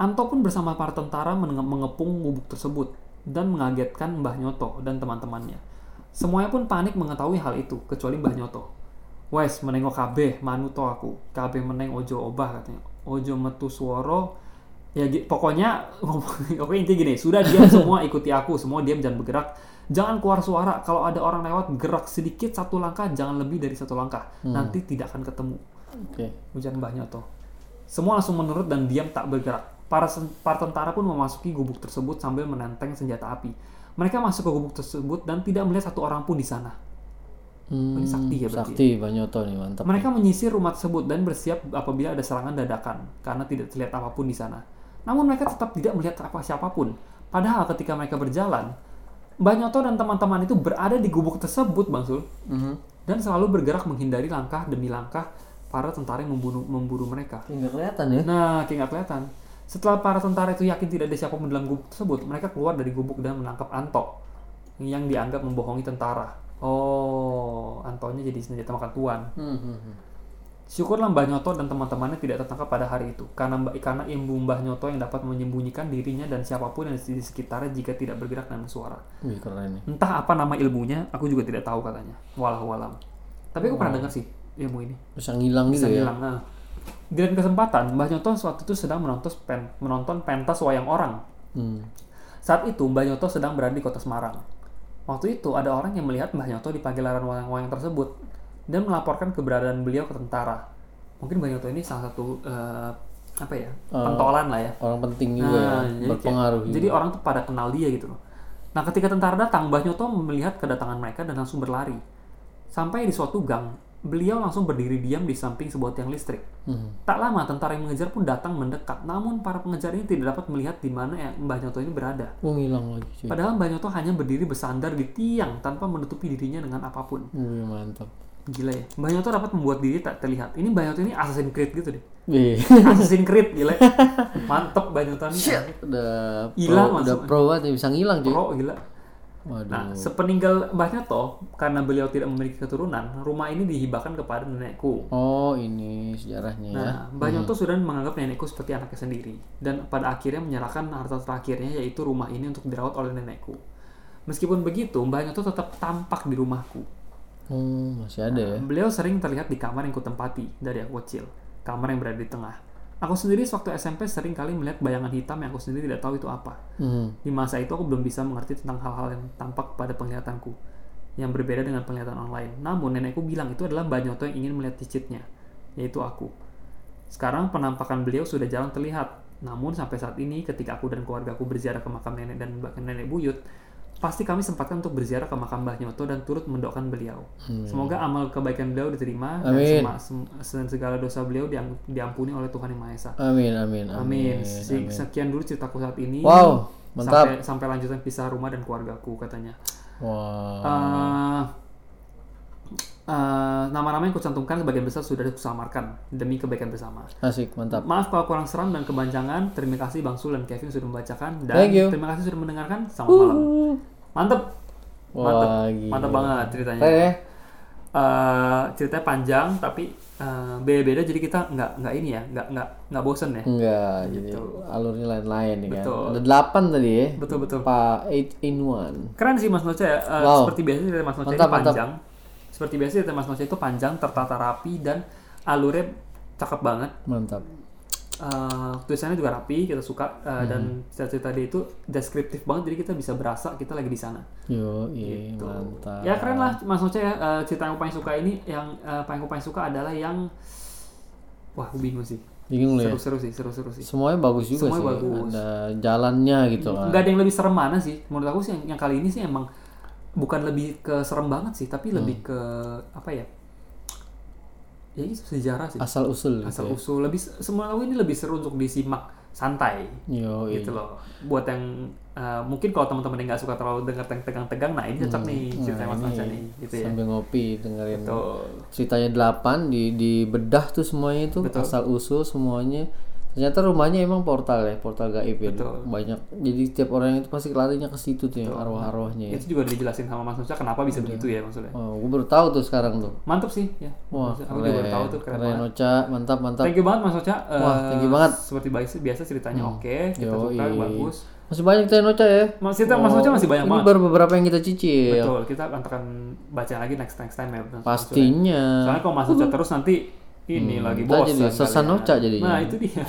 Anto pun bersama para tentara menge- mengepung gubuk tersebut dan mengagetkan Mbah Nyoto dan teman-temannya. Semuanya pun panik mengetahui hal itu, kecuali Mbah Nyoto. Wes, menengok kabeh, manuto aku. Kabeh meneng ojo obah katanya. Ojo metu suara. Ya gi- pokoknya, oke intinya gini, sudah diam semua ikuti aku, semua diam jangan bergerak. Jangan keluar suara, kalau ada orang lewat gerak sedikit satu langkah, jangan lebih dari satu langkah. Nanti tidak akan ketemu
Oke.
hujan Mbah Nyoto. Semua langsung menurut dan diam tak bergerak. Para, sen- para tentara pun memasuki gubuk tersebut sambil menenteng senjata api. Mereka masuk ke gubuk tersebut dan tidak melihat satu orang pun di sana.
Hmm,
Ini sakti ya berarti.
Sakti Banyoto nih, mantap.
Mereka menyisir rumah tersebut dan bersiap apabila ada serangan dadakan karena tidak terlihat apapun di sana. Namun mereka tetap tidak melihat apa siapapun. Padahal ketika mereka berjalan, Mbah Nyoto dan teman-teman itu berada di gubuk tersebut, Bang Sul
Mhm.
dan selalu bergerak menghindari langkah demi langkah para tentara yang membunuh, memburu mereka.
Enggak kelihatan ya.
Nah, kayak nggak kelihatan. Setelah para tentara itu yakin tidak ada siapapun dalam gubuk tersebut, mereka keluar dari gubuk dan menangkap Anto yang dianggap membohongi tentara. Oh, Antonya jadi senjata makan tuan.
Hmm, hmm, hmm.
Syukurlah Mbah Nyoto dan teman-temannya tidak tertangkap pada hari itu karena Mbak karena ilmu Mbah Nyoto yang dapat menyembunyikan dirinya dan siapapun yang di sekitarnya jika tidak bergerak dan bersuara.
Wih, keren nih.
Entah apa nama ilmunya, aku juga tidak tahu katanya. Walau walam. Tapi aku pernah dengar sih ilmu ini
Bisa ngilang gitu
bisa
ya.
hilang. Nah, di lain kesempatan, Mbah Nyoto waktu itu sedang menonton, pen- menonton pentas wayang orang.
Hmm.
Saat itu Mbah Nyoto sedang berada di kota Semarang. Waktu itu ada orang yang melihat Mbah Nyoto di pagelaran wayang-wayang tersebut dan melaporkan keberadaan beliau ke tentara. Mungkin Mbah Nyoto ini salah satu eh, apa ya pentolan lah ya.
Orang penting juga
Nah,
ya,
jadi
berpengaruh
kayak-
juga.
Jadi orang tuh pada kenal dia gitu loh. Nah, ketika tentara datang, Mbah Nyoto melihat kedatangan mereka dan langsung berlari. Sampai di suatu gang, beliau langsung berdiri diam di samping sebuah tiang listrik.
Hmm.
Tak lama, tentara yang mengejar pun datang mendekat. Namun, para pengejar ini tidak dapat melihat di mana yang Mbah Nyoto ini berada.
Oh, ngilang lagi cuy.
Padahal Mbah Nyoto hanya berdiri bersandar di tiang tanpa menutupi dirinya dengan apapun.
Wih, mantap.
Gila ya. Mbah Nyoto dapat membuat diri tak terlihat. Ini Mbah Nyoto ini Assassin's Creed gitu deh.
Wih,
Assassin's Creed, gila. Mantep Mbah Nyoto ini.
Nah, udah
Hilang
pro, udah
langsung.
pro banget ya, bisa ngilang cuy.
Pro, gila.
Waduh.
Nah, sepeninggal Mbah Nyoto, karena beliau tidak memiliki keturunan, rumah ini dihibahkan kepada nenekku.
Oh, ini sejarahnya ya.
Nah, Mbah Nyoto sudah menganggap nenekku seperti anaknya sendiri. Dan pada akhirnya menyerahkan harta terakhirnya, yaitu rumah ini untuk dirawat oleh nenekku. Meskipun begitu, Mbah Nyoto tetap tampak di rumahku.
Oh, masih ada ya.
Beliau sering terlihat di kamar yang kutempati dari aku kecil, kamar yang berada di tengah. Aku sendiri sewaktu SMP sering kali melihat bayangan hitam yang aku sendiri tidak tahu itu apa.
Hmm.
Di masa itu aku belum bisa mengerti tentang hal-hal yang tampak pada penglihatanku, yang berbeda dengan penglihatan orang lain. Namun nenekku bilang itu adalah Mbak Nyoto yang ingin melihat cicitnya, yaitu aku. Sekarang penampakan beliau sudah jarang terlihat. Namun sampai saat ini ketika aku dan keluargaku berziarah ke makam nenek dan bahkan nenek buyut, Pasti kami sempatkan untuk berziarah ke makam Mbah Nyoto dan turut mendoakan beliau. Semoga amal kebaikan beliau diterima
Hmm. Amin.
dan sema- sem- segala dosa beliau diam- diampuni oleh Tuhan Yang Maha Esa.
Amin, amin,
Amin. Se- Sekian dulu ceritaku saat ini.
Wow, mantap.
Sampai, sampai lanjutan pisah rumah dan keluargaku katanya.
Wah.
Eh, eh, nama-nama yang kucantumkan sebagian besar sudah disamarkan demi kebaikan bersama.
Asik, mantap.
Maaf kalau kurang seram dan kebancangan. Terima kasih Bang Sul dan Kevin sudah membacakan dan
Thank you. Uhuh.
terima kasih sudah mendengarkan. Selamat malam. Mantep. Mantep.
Wah, gila.
Mantep banget ceritanya.
Keren ya?
Eh, ceritanya panjang tapi eh, beda-beda jadi kita nggak nggak ini ya nggak nggak nggak bosen
Hmm.
ya.
Enggak, jadi alurnya lain-lain nih kan.
Betul.
Ada delapan tadi ya.
Betul betul.
Pak eight in one.
Keren sih Mas Noce ya. Eh,
Wow.
Seperti biasa cerita Mas Noce
Mantap,
itu
mantap.
panjang. Seperti biasa cerita Mas Noce itu panjang, tertata rapi dan alurnya cakep banget.
Mantap.
Eh, tulisannya juga rapi, kita suka
Hmm.
Eh, dan cerita-cerita dia itu deskriptif banget jadi kita bisa berasa kita lagi di sana.
Yo, iya,
Gitu.
mantap.
Ya keren lah Mas Noce ya. Eh, cerita yang aku paling suka ini yang eh, paling aku paling suka adalah yang wah aku bingung sih.
Bingung lu ya.
Seru-seru sih, seru-seru sih.
Semuanya bagus juga
Semuanya
sih.
bagus.
Ada jalannya gitu kan.
nggak ada yang lebih serem mana sih menurut aku sih yang, yang kali ini sih emang bukan lebih ke serem banget sih tapi lebih ke apa ya ya ini sejarah sih
Asal usul gitu.
asal usul lebih semua aku ini lebih seru untuk disimak santai
Yo,
gitu loh buat yang eh, mungkin kalau teman-teman yang nggak suka terlalu dengar teng- tegang-tegang nah ini cocok nih cerita mas Manca nih gitu ya
iya. Nah,
Gitu.
sambil ngopi dengerin
Tuh.
ceritanya delapan di di bedah tuh semuanya itu asal usul semuanya ternyata rumahnya emang portal ya portal gaib ya banyak jadi tiap orang itu pasti larinya ke situ tuh ya arwah-arwahnya ya.
itu juga dijelasin sama mas Manca kenapa bisa begitu ya maksudnya
oh, gue baru tahu tuh sekarang tuh
mantep sih ya
wah
aku juga baru
keren
tahu tuh keren
keren Oca mantap mantap
Thank you banget Mas Ocha. Eh,
Wah, thank you banget. Hmm.
Seperti biasa, biasa ceritanya oke, kita
Yoi.
suka bagus.
masih banyak tuh Oca ya
Mas cerita Mas Ocha masih banyak
ini
banget.
baru beberapa yang kita cicil
Betul, kita akan baca lagi next next time ya. Mas Ocha.
pastinya
Soalnya kalau Mas Ocha terus nanti ini lagi
kita
bosan.
jadi
kalian.
sesan Oca jadinya.
Nah, itu dia.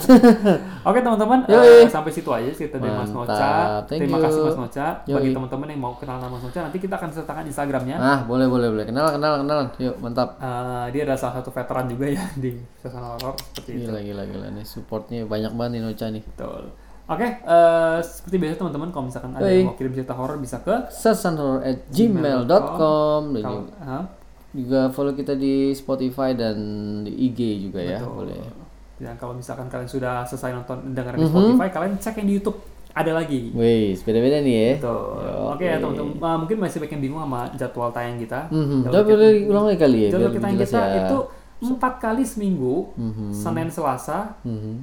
oke, teman-teman, eh, sampai situ aja cerita dari Mas
Mantap.
Ocha.
Thank
Terima
you.
kasih Mas Ocha. Bagi teman-teman yang mau kenal nama Mas Ocha, nanti kita akan sertakan Instagramnya.
ah boleh boleh boleh kenal kenal kenalan yuk mantap
Eh, dia adalah salah satu veteran juga ya di suasana horor seperti itu.
Gila gila gila nih supportnya banyak banget nih Nocha nih.
Betul. Oke, eh, seperti biasa teman-teman kalau misalkan ada yang mau kirim cerita horor bisa ke
sasanhorror@gmail.com dan
kalau
juga-
Hah?
juga follow kita di Spotify dan di IG juga ya boleh.
dan kalau misalkan kalian sudah selesai nonton dengar
Mhm.
di Spotify, kalian cek yang di YouTube ada lagi.
Wih, beda-beda nih ya.
Betul. Oke ya teman-teman, Eh, mungkin masih banyak yang bingung sama jadwal tayang kita.
iya. Mhm, Tapi boleh ulang lagi kali ya biar
Jadwal kita
lebih
yang
jelas
kita
ya. Mhm.
itu empat kali seminggu, Senin, Selasa,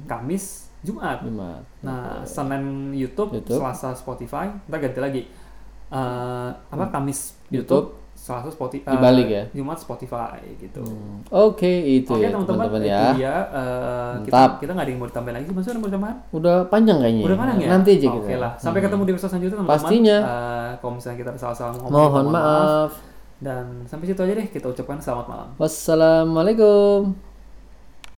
Kamis, Jumat.
Jumat.
Nah, Senin YouTube,
YouTube.
Selasa Spotify, ntar ganti lagi. Eh, apa Kamis YouTube, Selasa
Mhm.
Spotify, eh,
Dibalik ya? Hmm.
Jumat Spotify gitu.
Oke, itu
Oke
ya
teman-teman,
teman-teman
itu
ya.
dia. Eh, kita
Mantap.
kita nggak ada yang mau ditambahin lagi, maksudnya ada yang mau ditambahin?
Udah panjang kayaknya.
Udah panjang ya?
Nanti aja
Oke
kita. Hmm.
lah, sampai ketemu di episode selanjutnya teman-teman.
Pastinya.
Eh, kalau misalnya kita ada salah-salah ngomong,
Mohon
mohon
maaf.
Dan sampai situ aja deh, kita ucapkan selamat malam.
Wassalamualaikum.